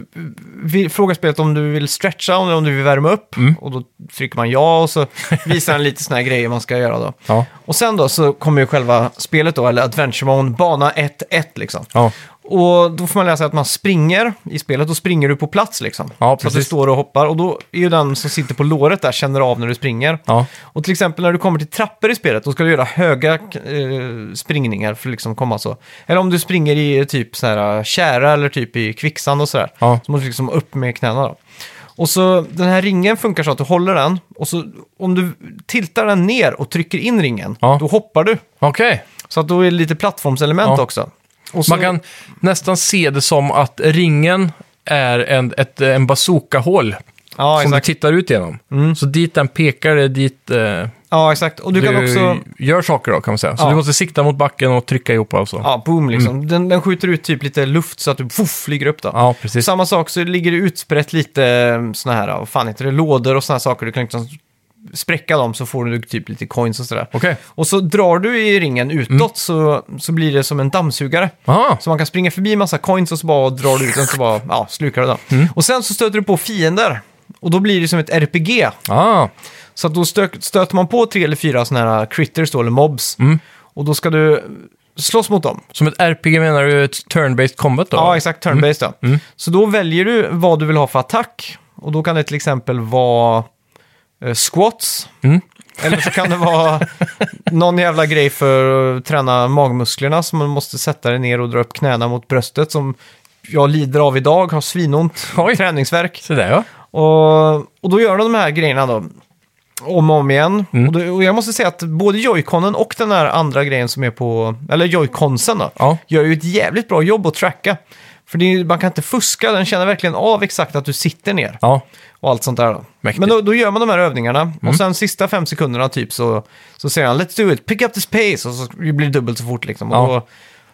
Speaker 1: vi, frågar spelet om du vill stretcha eller om du vill värma upp.
Speaker 2: Mm.
Speaker 1: Och då trycker man ja och så visar den lite såna här grejer man ska göra då.
Speaker 2: Ja.
Speaker 1: Och sen då så kommer ju själva spelet då, eller Adventure Mode, bana 1-1 liksom.
Speaker 2: Ja.
Speaker 1: Och då får man lära sig att man springer i spelet, då springer du på plats liksom.
Speaker 2: Ja,
Speaker 1: så att du
Speaker 2: precis.
Speaker 1: står och hoppar och då är ju den som sitter på låret där känner av när du springer.
Speaker 2: Ja.
Speaker 1: Och till exempel när du kommer till trappor i spelet, då ska du göra höga eh, springningar för att liksom komma så. Eller om du springer i typ så här tjära eller typ i kvicksand och sådär.
Speaker 2: Ja.
Speaker 1: Så måste du liksom upp med knäna då. Och så den här ringen funkar så att du håller den och så om du tiltar den ner och trycker in ringen,
Speaker 2: Ja.
Speaker 1: då hoppar du.
Speaker 2: Okej.
Speaker 1: Så att då är det lite plattformselement
Speaker 2: Ja.
Speaker 1: också. Och så,
Speaker 2: Man kan nästan se det som att ringen är en, ett, en bazookahål
Speaker 1: ja,
Speaker 2: som
Speaker 1: exakt.
Speaker 2: du tittar ut genom. Så dit den pekar, det är dit eh,
Speaker 1: ja, exakt. Och du,
Speaker 2: du
Speaker 1: kan också...
Speaker 2: gör saker då kan man säga. Så
Speaker 1: Ja.
Speaker 2: du måste sikta mot backen och trycka ihop och så.
Speaker 1: Ja, boom liksom. Den, den skjuter ut typ lite luft så att du fuff, flyger upp då.
Speaker 2: Mm. Ja, precis.
Speaker 1: Samma sak så ligger det utsprätt lite eh, såna här, vad fan heter det, lådor och såna här saker. Du kan liksom spräcka dem så får du typ lite coins och sådär.
Speaker 2: Okej. Mm.
Speaker 1: Och så drar du i ringen utåt så, så blir det som en dammsugare.
Speaker 2: Aha.
Speaker 1: Så man kan springa förbi massa coins och så bara drar du ut den så bara, ja, slukar du den.
Speaker 2: Mm.
Speaker 1: Och sen så stöter du på fiender. Och då blir det som ett RPG.
Speaker 2: Ah,
Speaker 1: Så att då stö- stöter man på tre eller fyra sådana här critters då, eller mobs.
Speaker 2: Mm.
Speaker 1: Och då ska du slåss mot dem.
Speaker 2: som ett RPG menar du ett turn-based combat då? Mm.
Speaker 1: Ja, exakt. Turn-based då. Så då väljer du vad du vill ha för attack. Och då kan det till exempel vara eh, squats.
Speaker 2: Mm.
Speaker 1: Eller så kan det vara någon jävla grej för att träna magmusklerna som man måste sätta dig ner och dra upp knäna mot bröstet som jag lider av idag, har svinont,
Speaker 2: Oj.
Speaker 1: träningsvärk.
Speaker 2: Så där ja.
Speaker 1: Och, och då gör de de här grejerna då. Om och om igen.
Speaker 2: Mm.
Speaker 1: Och, då, och jag måste säga att både joyconen och den här andra grejen som är på... Eller joyconsen då.
Speaker 2: Ja.
Speaker 1: Gör ju ett jävligt bra jobb att tracka. För det, är- man kan inte fuska, den känner verkligen av exakt att du sitter ner.
Speaker 2: Ja,
Speaker 1: Och allt sånt där då.
Speaker 2: Mäktigt. Mm.
Speaker 1: Men då, då gör man de här övningarna. Och sen sista fem sekunderna typ så, så säger han “Let's do it, pick up the space” och så blir det dubbelt så fort liksom.
Speaker 2: Ja.
Speaker 1: Och då,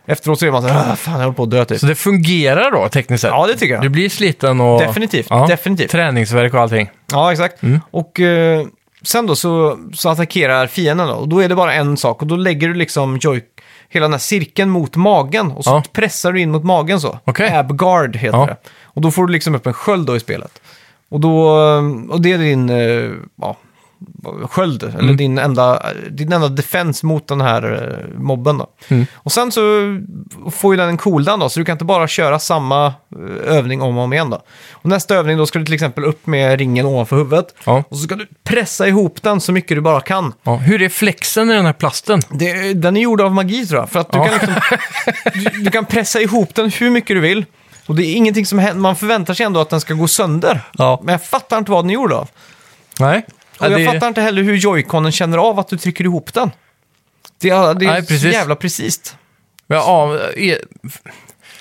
Speaker 1: efteråt så är man så här “Ah, “Fan, jag håller på att dö” typ.
Speaker 2: så det fungerar då tekniskt sett?
Speaker 1: Ja, det tycker jag.
Speaker 2: Du blir sliten och...
Speaker 1: Definitivt, definitivt.
Speaker 2: Träningsvärk och allting.
Speaker 1: Ja, exakt.
Speaker 2: Mm.
Speaker 1: Och eh, sen då så, så attackerar fienden då, och då är det bara en sak och då lägger du liksom joy, hela den här cirkeln mot magen och så
Speaker 2: Ja.
Speaker 1: pressar du in mot magen så.
Speaker 2: Okej.
Speaker 1: Abguard heter
Speaker 2: Ja.
Speaker 1: det. Och då får du liksom upp en sköld då i spelet. Och, då, eh, och det är din eh, ja, sköld, eller
Speaker 2: Mm.
Speaker 1: din enda, din enda defens mot den här eh, mobben då.
Speaker 2: Mm.
Speaker 1: Och sen så får ju den en cooldown då, så du kan inte bara köra samma eh, övning om och om igen då. Och nästa övning då ska du till exempel upp med ringen ovanför huvudet.
Speaker 2: Ja.
Speaker 1: Och så ska du pressa ihop den så mycket du bara kan.
Speaker 2: Ja. Hur är flexen i den här plasten?
Speaker 1: Det, den är gjord av magi tror jag. För att du,
Speaker 2: Ja.
Speaker 1: kan liksom, du, du kan pressa ihop den hur mycket du vill. Och det är ingenting som händer. Man förväntar sig ändå att den ska gå sönder.
Speaker 2: Ja.
Speaker 1: Men jag fattar inte vad den är gjord av.
Speaker 2: Nej.
Speaker 1: Och
Speaker 2: Ja,
Speaker 1: jag
Speaker 2: det-
Speaker 1: fattar inte heller hur joyconen känner av att du trycker ihop den. Det är, det är
Speaker 2: Nej,
Speaker 1: så
Speaker 2: precis.
Speaker 1: jävla precis.
Speaker 2: Ja, ja, e-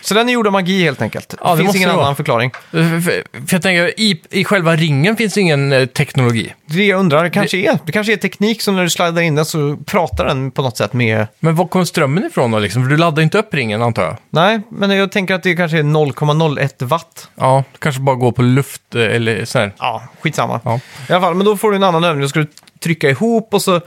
Speaker 1: Så den är gjord av magi helt enkelt.
Speaker 2: Ja, det
Speaker 1: det finns
Speaker 2: måste
Speaker 1: ingen
Speaker 2: det vara.
Speaker 1: annan förklaring.
Speaker 2: För, för jag tänker, i, i själva ringen finns ingen eh, teknologi.
Speaker 1: Det är det jag undrar, det kanske är, det kanske är teknik som när du sladdar in den så pratar den på något sätt med...
Speaker 2: Men var kom strömmen ifrån då liksom? För du laddar ju inte upp ringen antar jag?
Speaker 1: Nej, men jag tänker att det kanske är 0,01 watt.
Speaker 2: Ja, det kanske bara går på luft eh, eller så här.
Speaker 1: Ja, skitsamma.
Speaker 2: Ja.
Speaker 1: I alla fall, men då får du en annan övning. Då ska du trycka ihop och så...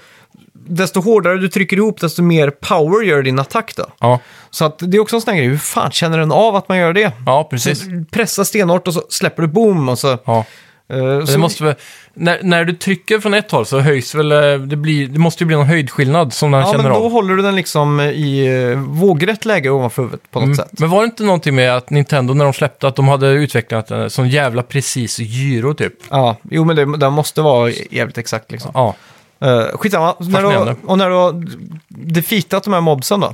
Speaker 1: Desto hårdare du trycker ihop, desto mer power gör din attack då.
Speaker 2: Ja,
Speaker 1: Så att det är också en sån här grej, hur fan känner den av att man gör det?
Speaker 2: ja precis.
Speaker 1: Så pressa stenhårt och så släpper du boom och så...
Speaker 2: Ja.
Speaker 1: eh,
Speaker 2: Det
Speaker 1: så
Speaker 2: måste väl, när, när du trycker från ett håll så höjs väl, eh, det, blir, det måste ju bli någon höjdskillnad som den
Speaker 1: ja, men
Speaker 2: känner
Speaker 1: då
Speaker 2: av.
Speaker 1: håller du den liksom i eh, vågrätt läge ovanför huvudet på något sätt.
Speaker 2: Mm. Men var det inte någonting med att Nintendo när de släppte att de hade utvecklat en sån jävla precis gyro typ?
Speaker 1: Ja, jo men det, den måste vara jävligt exakt liksom.
Speaker 2: Ja,
Speaker 1: Eh, skitsamma, när
Speaker 2: Fascinerande. Mm.
Speaker 1: du, och när du har defeatat de här mobsen då,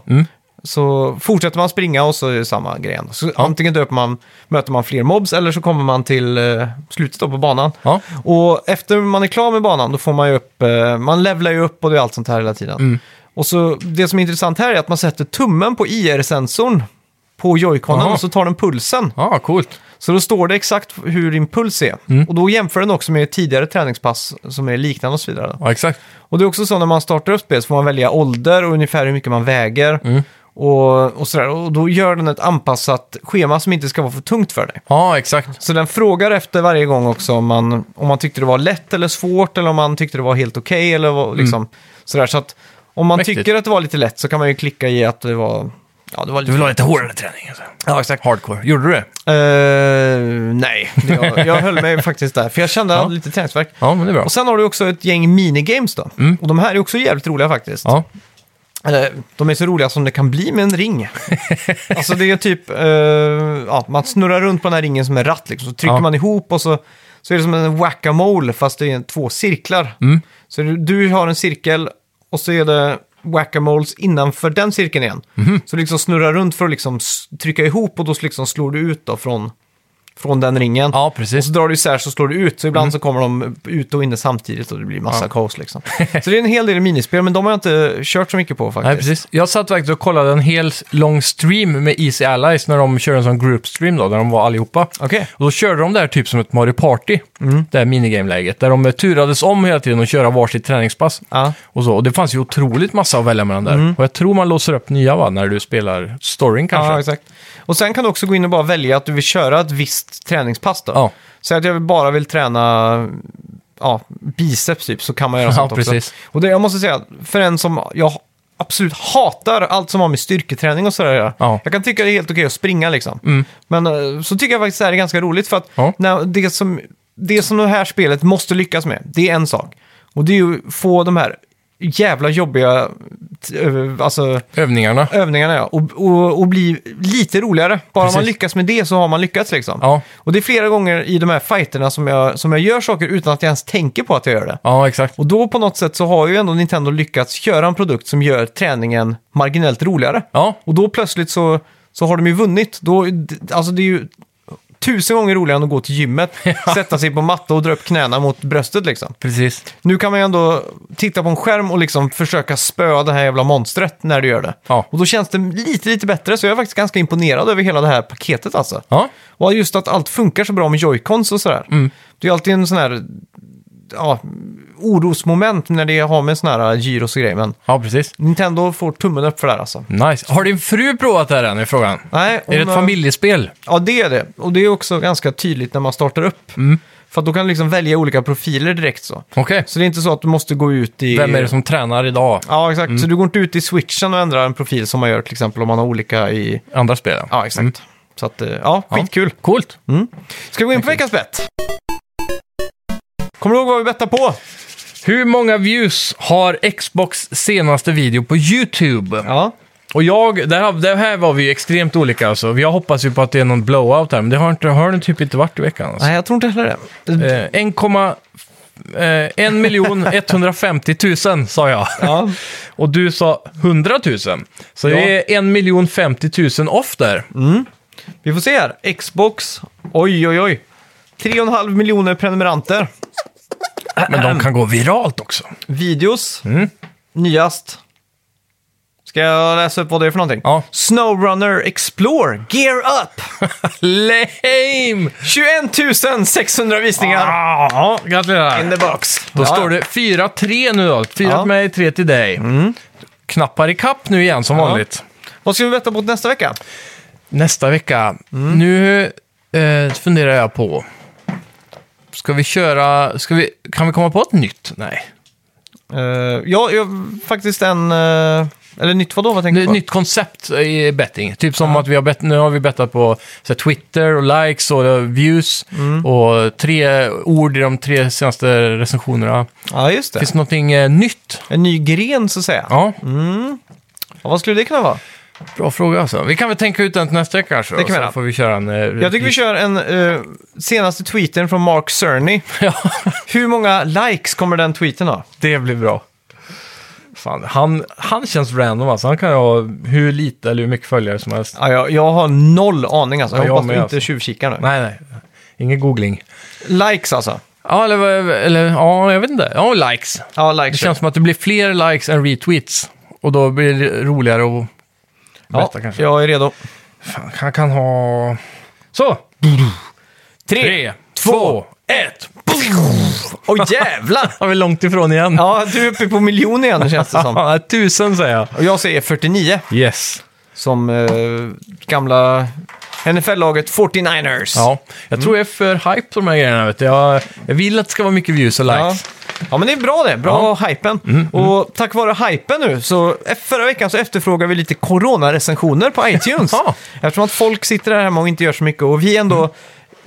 Speaker 1: så fortsätter man springa och så är det samma grej ändå. Så antingen döper man, möter man fler mobs eller så kommer man till eh, slutet då på banan.
Speaker 2: ja,
Speaker 1: Och efter man är klar med banan då får man ju upp, eh, man levlar ju upp och det är allt sånt här hela tiden. Och så det som är intressant här är att man sätter tummen på IR-sensorn på joyconen
Speaker 2: Aha.
Speaker 1: och så tar den pulsen.
Speaker 2: ja coolt.
Speaker 1: Så då står det exakt hur din puls är. Och då jämför den också med tidigare träningspass som är liknande och så vidare.
Speaker 2: Ja, exakt.
Speaker 1: Och det är också så när man startar upp spel så får man välja ålder och ungefär hur mycket man väger. Och, och, sådär. och då gör den ett anpassat schema som inte ska vara för tungt för dig.
Speaker 2: Ja, exakt.
Speaker 1: Så den frågar efter varje gång också om man, om man tyckte det var lätt eller svårt eller om man tyckte det var helt okej eller vad- liksom sådär. Så att om man
Speaker 2: Mm. Mäktigt.
Speaker 1: tycker att det var lite lätt så kan man ju klicka i att det var Ja, det var
Speaker 2: Du
Speaker 1: lite...
Speaker 2: vill ha lite hårdare träning. Alltså.
Speaker 1: Ja, exakt.
Speaker 2: Hardcore. Gjorde du det?
Speaker 1: Eh, nej, Det- jag, jag höll mig faktiskt där. För jag kände att jag hade lite träningsvärk.
Speaker 2: Ja, men det är bra.
Speaker 1: Och sen har du också ett gäng minigames då. Och de här är också jävligt roliga faktiskt.
Speaker 2: Ja,
Speaker 1: Eller, de är så roliga som det kan bli med en ring. alltså det är typ, eh, ja, man snurrar runt på den här ringen som en ratt liksom. Så trycker
Speaker 2: Ja.
Speaker 1: man ihop och så, så är det som en whack-a-mole fast det är två cirklar.
Speaker 2: Mm.
Speaker 1: Så du, du har en cirkel och så är det whack-a-moles innanför den cirkeln igen.
Speaker 2: Mhm.
Speaker 1: Så du liksom snurrar runt för att liksom s- trycka ihop och då liksom slår du ut då från, från den ringen.
Speaker 2: ja
Speaker 1: Och
Speaker 2: precis.
Speaker 1: så drar du isär så slår du ut, så ibland
Speaker 2: Mm.
Speaker 1: så kommer de ut och inne samtidigt och det blir massa kaos liksom. Så det är en hel del minispel, men de har jag inte kört så mycket på faktiskt.
Speaker 2: Nej, precis. Jag satt faktiskt och kollade en hel lång stream med Easy Allies när de körde en sån group stream då, där de var allihopa.
Speaker 1: Okej.
Speaker 2: Och då körde de det här typ som ett Mario Party, det här minigame-läget, där de turades om hela tiden och köra varsitt träningspass.
Speaker 1: Ja.
Speaker 2: Och, så. och det fanns ju otroligt massa att välja mellan där. Och jag tror man låser upp nya va, när du spelar storyn kanske.
Speaker 1: Ja, exakt. Och sen kan du också gå in och bara välja att du vill köra ett visst träningspass då.
Speaker 2: Ja.
Speaker 1: Säg att jag bara vill träna ja, biceps typ, så kan man göra
Speaker 2: Ja,
Speaker 1: sånt
Speaker 2: precis.
Speaker 1: också. Och det, jag måste säga, för en som jag absolut hatar allt som har med styrketräning och sådär att göra.
Speaker 2: Ja. Mm.
Speaker 1: Jag kan tycka det är helt okej att springa liksom. Men eh, så tycker jag faktiskt det här är ganska roligt för att
Speaker 2: Ja.
Speaker 1: när det, som, det som det här spelet måste lyckas med, det är en sak. Och det är ju få de här jävla jobbiga, t- ö- alltså
Speaker 2: Övningarna.
Speaker 1: övningarna ja, och, och, och bli lite roligare. Bara
Speaker 2: Precis.
Speaker 1: man lyckas med det så har man lyckats liksom.
Speaker 2: Ja.
Speaker 1: Och det är flera gånger i de här fighterna som jag, som jag gör saker utan att jag ens tänker på att jag gör det.
Speaker 2: Ja, exakt.
Speaker 1: Och då på något sätt så har ju ändå Nintendo lyckats göra en produkt som gör träningen marginellt roligare.
Speaker 2: Ja,
Speaker 1: Och då plötsligt så, så har de ju vunnit. Då, d- alltså det är ju tusen gånger roligare än att gå till gymmet, sätta sig på matta och dra upp knäna mot bröstet liksom.
Speaker 2: precis.
Speaker 1: Nu kan man ju ändå titta på en skärm och liksom försöka spöa det här jävla monstret när du gör det.
Speaker 2: Ja.
Speaker 1: Och då känns det lite, lite bättre, så jag är faktiskt ganska imponerad över hela det här paketet alltså.
Speaker 2: Ja, Mm.
Speaker 1: Och just att allt funkar så bra med joycons och sådär. Det är alltid en sån här ja, orosmoment när det har med sån här gyros och grejer, men
Speaker 2: ja precis.
Speaker 1: Nintendo får tummen upp för det här alltså.
Speaker 2: Nice. Har din fru provat det här än, är frågan?
Speaker 1: Nej,
Speaker 2: Är det
Speaker 1: hon eh,
Speaker 2: ett
Speaker 1: har-
Speaker 2: familjespel?
Speaker 1: Ja, det är det. Och det är också ganska tydligt när man startar upp.
Speaker 2: Mm.
Speaker 1: För att då kan du liksom välja olika profiler direkt så.
Speaker 2: Okej.
Speaker 1: Så det är inte så att du måste gå ut i...
Speaker 2: Vem är det som tränar idag?
Speaker 1: Ja, exakt.
Speaker 2: Mm.
Speaker 1: Så du går inte ut i switchen och ändrar en profil som man gör till exempel om man har olika i...
Speaker 2: Andra spelen?
Speaker 1: Ja, Mm. exakt. Så att, eh, ja,
Speaker 2: Mm. Ja.
Speaker 1: skitkul.
Speaker 2: Coolt.
Speaker 1: Ska vi gå in på veckans bett? Kommer du ihåg vad vi bettade på?
Speaker 2: Hur många views har Xbox senaste video på YouTube?
Speaker 1: Ja.
Speaker 2: Och jag, det här, det här var vi ju extremt olika alltså. Jag hoppas ju på att det är någon blowout här, men det har, inte, har den typ inte varit i veckan. Alltså.
Speaker 1: Nej, jag tror inte heller det.
Speaker 2: Eh, 1, eh, 1 miljon 150 000 sa jag.
Speaker 1: Ja.
Speaker 2: Och du sa 100 000. Så det är 1 miljon 50 000 off där.
Speaker 1: Vi får se här. Xbox. Oj, oj, oj. 3,5 miljoner prenumeranter.
Speaker 2: Men de kan gå viralt också.
Speaker 1: Videos.
Speaker 2: Mm.
Speaker 1: Nyast. Ska jag läsa upp vad det är för någonting?
Speaker 2: Ja.
Speaker 1: Snowrunner Explore. Gear Up.
Speaker 2: Lame!
Speaker 1: 21 600 visningar.
Speaker 2: Ja,
Speaker 1: In
Speaker 2: gratulerar.
Speaker 1: the box.
Speaker 2: Ah. Då
Speaker 1: Ja.
Speaker 2: står det 4-3 nu då. 4
Speaker 1: Ja. Mm.
Speaker 2: till mig, 3 till dig. Knappar i kapp nu igen som
Speaker 1: Ja.
Speaker 2: vanligt.
Speaker 1: Vad ska vi betta på nästa vecka?
Speaker 2: Nästa vecka.
Speaker 1: Mm.
Speaker 2: Nu eh, funderar jag på... Ska vi köra... Ska vi, kan vi komma på ett nytt? Nej.
Speaker 1: Eh, ja, jag, faktiskt en... eh, eller nytt vadå? Vad tänker du
Speaker 2: Ny,
Speaker 1: på?
Speaker 2: nytt koncept i betting. Typ som att vi har bett, nu har vi bettat på så här, Twitter och likes och eh, views
Speaker 1: Mm.
Speaker 2: och tre ord i de tre senaste recensionerna.
Speaker 1: Ja, just det.
Speaker 2: Finns det någonting eh, nytt?
Speaker 1: En ny gren så att säga. Ja.
Speaker 2: Ja,
Speaker 1: vad skulle det kunna vara?
Speaker 2: bra fråga alltså. Vi kan väl tänka ut den till nästa vecka kanske.
Speaker 1: Det kan vi
Speaker 2: och
Speaker 1: göra.
Speaker 2: så får vi köra en... eh,
Speaker 1: Jag tycker vi kör en eh, senaste tweeten från Mark Cerny.
Speaker 2: Ja,
Speaker 1: Hur många likes kommer den tweeten ha?
Speaker 2: det blir bra. Fan, han, han känns random alltså. Han kan ju ha hur lite eller hur mycket följare som helst.
Speaker 1: Ja, jag, jag har noll aning alltså. Jag
Speaker 2: Ja, jag
Speaker 1: hoppas
Speaker 2: med,
Speaker 1: du inte
Speaker 2: alltså.
Speaker 1: tjuvkikar nu.
Speaker 2: Nej, nej. Ingen googling.
Speaker 1: Likes alltså.
Speaker 2: Ja, eller, vad- eller ja, jag vet inte. Ja, likes.
Speaker 1: Ja, likes.
Speaker 2: Det känns som att det blir fler likes än retweets. Och då blir det roligare att
Speaker 1: ja,
Speaker 2: berätta kanske.
Speaker 1: Jag är redo.
Speaker 2: Fan, han kan ha... Så!
Speaker 1: Tre.
Speaker 2: Tre, två, ett!
Speaker 1: Åh jävlar!
Speaker 2: Han är långt ifrån igen.
Speaker 1: Ja, du är uppe på miljon igen känns det som.
Speaker 2: Ja, tusen säger jag.
Speaker 1: Och jag säger 49
Speaker 2: Yes.
Speaker 1: som eh, gamla NFL-laget 49ers.
Speaker 2: Ja, jag tror jag är för hype på de här grejerna. Vet du. Jag, jag vill att det ska vara mycket views och
Speaker 1: Ja.
Speaker 2: likes.
Speaker 1: Ja men det är bra det, bra hypen.
Speaker 2: Mm,
Speaker 1: Och tack vare hypen nu, så e- förra veckan så efterfrågade vi lite coronarecensioner på iTunes.
Speaker 2: Ja. Mm.
Speaker 1: Eftersom att folk sitter där hemma och inte gör så mycket och vi ändå,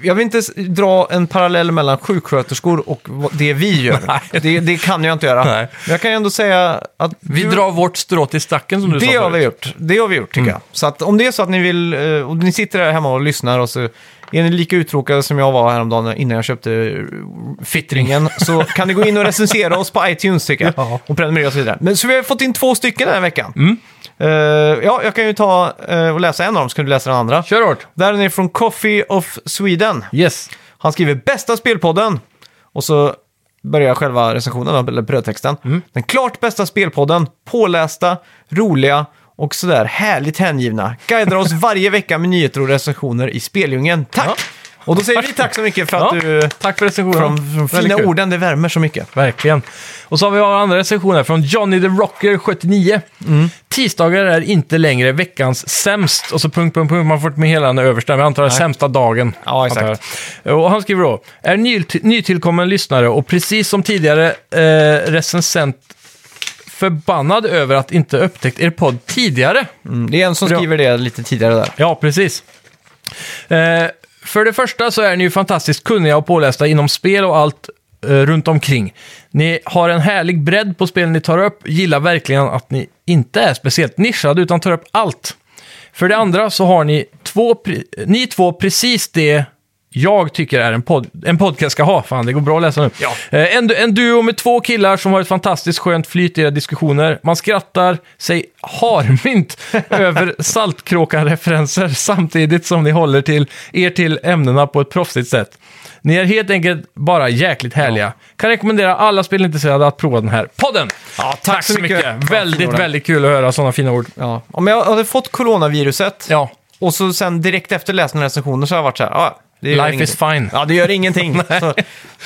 Speaker 1: jag vill inte s- dra en parallell mellan sjuksköterskor och vad- det vi gör.
Speaker 2: Nej.
Speaker 1: Det, det kan jag inte göra.
Speaker 2: Nej.
Speaker 1: Men jag kan ju ändå säga att
Speaker 2: Vi
Speaker 1: du-
Speaker 2: drar vårt strå till stacken som du sa
Speaker 1: det har
Speaker 2: förut. Mm.
Speaker 1: vi gjort. Det har vi gjort tycker jag. Så att om det är så att ni vill, eh, och ni sitter där hemma och lyssnar och så är ni lika uttråkade som jag var häromdagen innan jag köpte eh, fittringen så kan ni gå in och recensera oss på iTunes tycker jag.
Speaker 2: Mm. Ja. Mm.
Speaker 1: Och prenumerera och så vidare. Men så vi har fått in två stycken den här veckan. Eh, ja, jag kan ju ta eh, och läsa en av dem så kan du läsa den andra.
Speaker 2: Kör hårt.
Speaker 1: Där är ni från Coffee of Sweden.
Speaker 2: Yes.
Speaker 1: Han skriver bästa spelpodden. Och så börjar själva recensionen, eller brödtexten. Den klart bästa spelpodden, pålästa, roliga och sådär härligt hängivna. Guidar oss varje vecka med nyheter och recensioner i speldjungeln. Tack!
Speaker 2: Ja.
Speaker 1: Och då säger vi tack så mycket för att
Speaker 2: Ja.
Speaker 1: du...
Speaker 2: Tack för recensionen.
Speaker 1: För de, de
Speaker 2: Väldigt
Speaker 1: fina
Speaker 2: kul.
Speaker 1: orden, det värmer så mycket.
Speaker 2: Verkligen. Och så har vi vår andra recension här från Johnny the Rocker 79.
Speaker 1: Mm.
Speaker 2: Tisdagar är inte längre veckans sämst. Och så punkt, punkt, punkt. Man får inte med hela den översta, men jag antar det är sämsta dagen.
Speaker 1: Ja, exakt.
Speaker 2: antar jag. Och han skriver då, är ny, nytillkommen lyssnare och precis som tidigare eh, recensent förbannad över att inte upptäckt er podd tidigare.
Speaker 1: Mm. Det är en som
Speaker 2: Ja.
Speaker 1: skriver det lite tidigare där.
Speaker 2: Ja, precis. Eh, för det första så är ni ju fantastiskt kunniga och pålästa inom spel och allt eh, runt omkring. Ni har en härlig bredd på spelen ni tar upp, gillar verkligen att ni inte är speciellt nischade utan tar upp allt. För det andra så har ni två, pri- ni två precis det jag tycker är en, pod en podcast ska ha. Fan, det går bra att läsa nu.
Speaker 1: Ja.
Speaker 2: Eh, En, du- en duo med två killar som har ett fantastiskt skönt flyt i era diskussioner. Man skrattar sig harmynt över Saltkråkan-referenser samtidigt som ni håller till er till ämnena på ett proffsigt sätt. Ni är helt enkelt bara jäkligt härliga. Kan rekommendera alla spelintresserade att prova den här podden.
Speaker 1: tack så mycket.
Speaker 2: Väldigt,
Speaker 1: Varsågoda.
Speaker 2: väldigt kul att höra sådana fina ord.
Speaker 1: Ja. Om jag hade fått coronaviruset
Speaker 2: Ja,
Speaker 1: och så sen direkt efter läsningen av recensioner så har jag varit så här, ja, det gör
Speaker 2: life
Speaker 1: ingenting.
Speaker 2: is fine.
Speaker 1: Ja, det gör ingenting. så,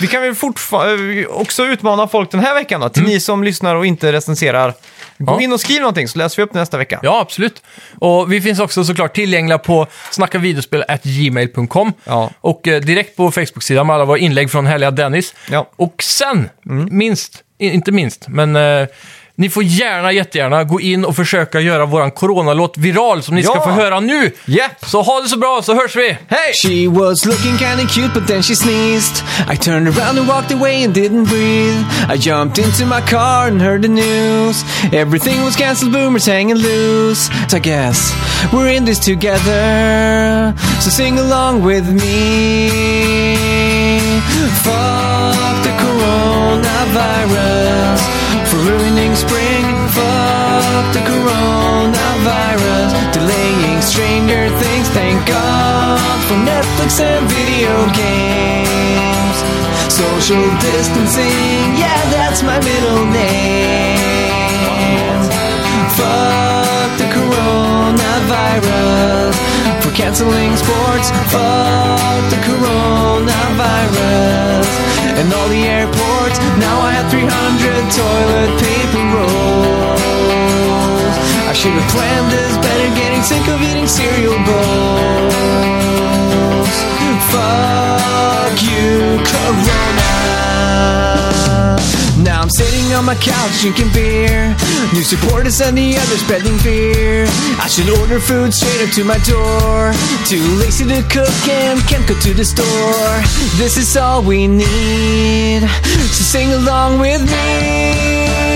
Speaker 1: vi kan väl fortfarande också utmana folk den här veckan då, till ni som lyssnar och inte recenserar. Gå
Speaker 2: Mm. Ja.
Speaker 1: in och skriv någonting så läser vi upp nästa vecka.
Speaker 2: Ja, absolut. Och vi finns också såklart tillgängliga på snackavideospel.gmail.com
Speaker 1: Ja.
Speaker 2: och eh, direkt på Facebook-sidan med alla våra inlägg från härliga Dennis.
Speaker 1: Ja. Mm.
Speaker 2: Och sen, minst, i- inte minst, men eh, ni får gärna, jättegärna gå in och försöka göra våran coronalåt viral som ni ska
Speaker 1: Ja.
Speaker 2: få höra nu.
Speaker 1: Japp.
Speaker 2: Så ha det så bra så hörs vi!
Speaker 1: Hej!
Speaker 5: She was looking kinda cute, but then she sneezed. I turned around and walked away and didn't breathe. I jumped into my car and heard the news. Everything was cancelled, boomers hanging loose. So I guess we're in this together. So sing along with me. Fuck the coronavirus for ruining spring. Fuck the coronavirus, delaying Stranger Things. Thank God for Netflix and video games. Social distancing, yeah, that's my middle name. Fuck the coronavirus for canceling sports. Fuck the coronavirus and all the airports. Now I have 300 toilet paper rolls. I should have planned this better. Getting sick of eating cereal bowls. Fuck you, Corona. Now I'm sitting on my couch drinking beer. New supporters and the others spreading fear. I should order food straight up to my door. Too lazy to cook and can't go to the store. This is all we need. So sing along with me. E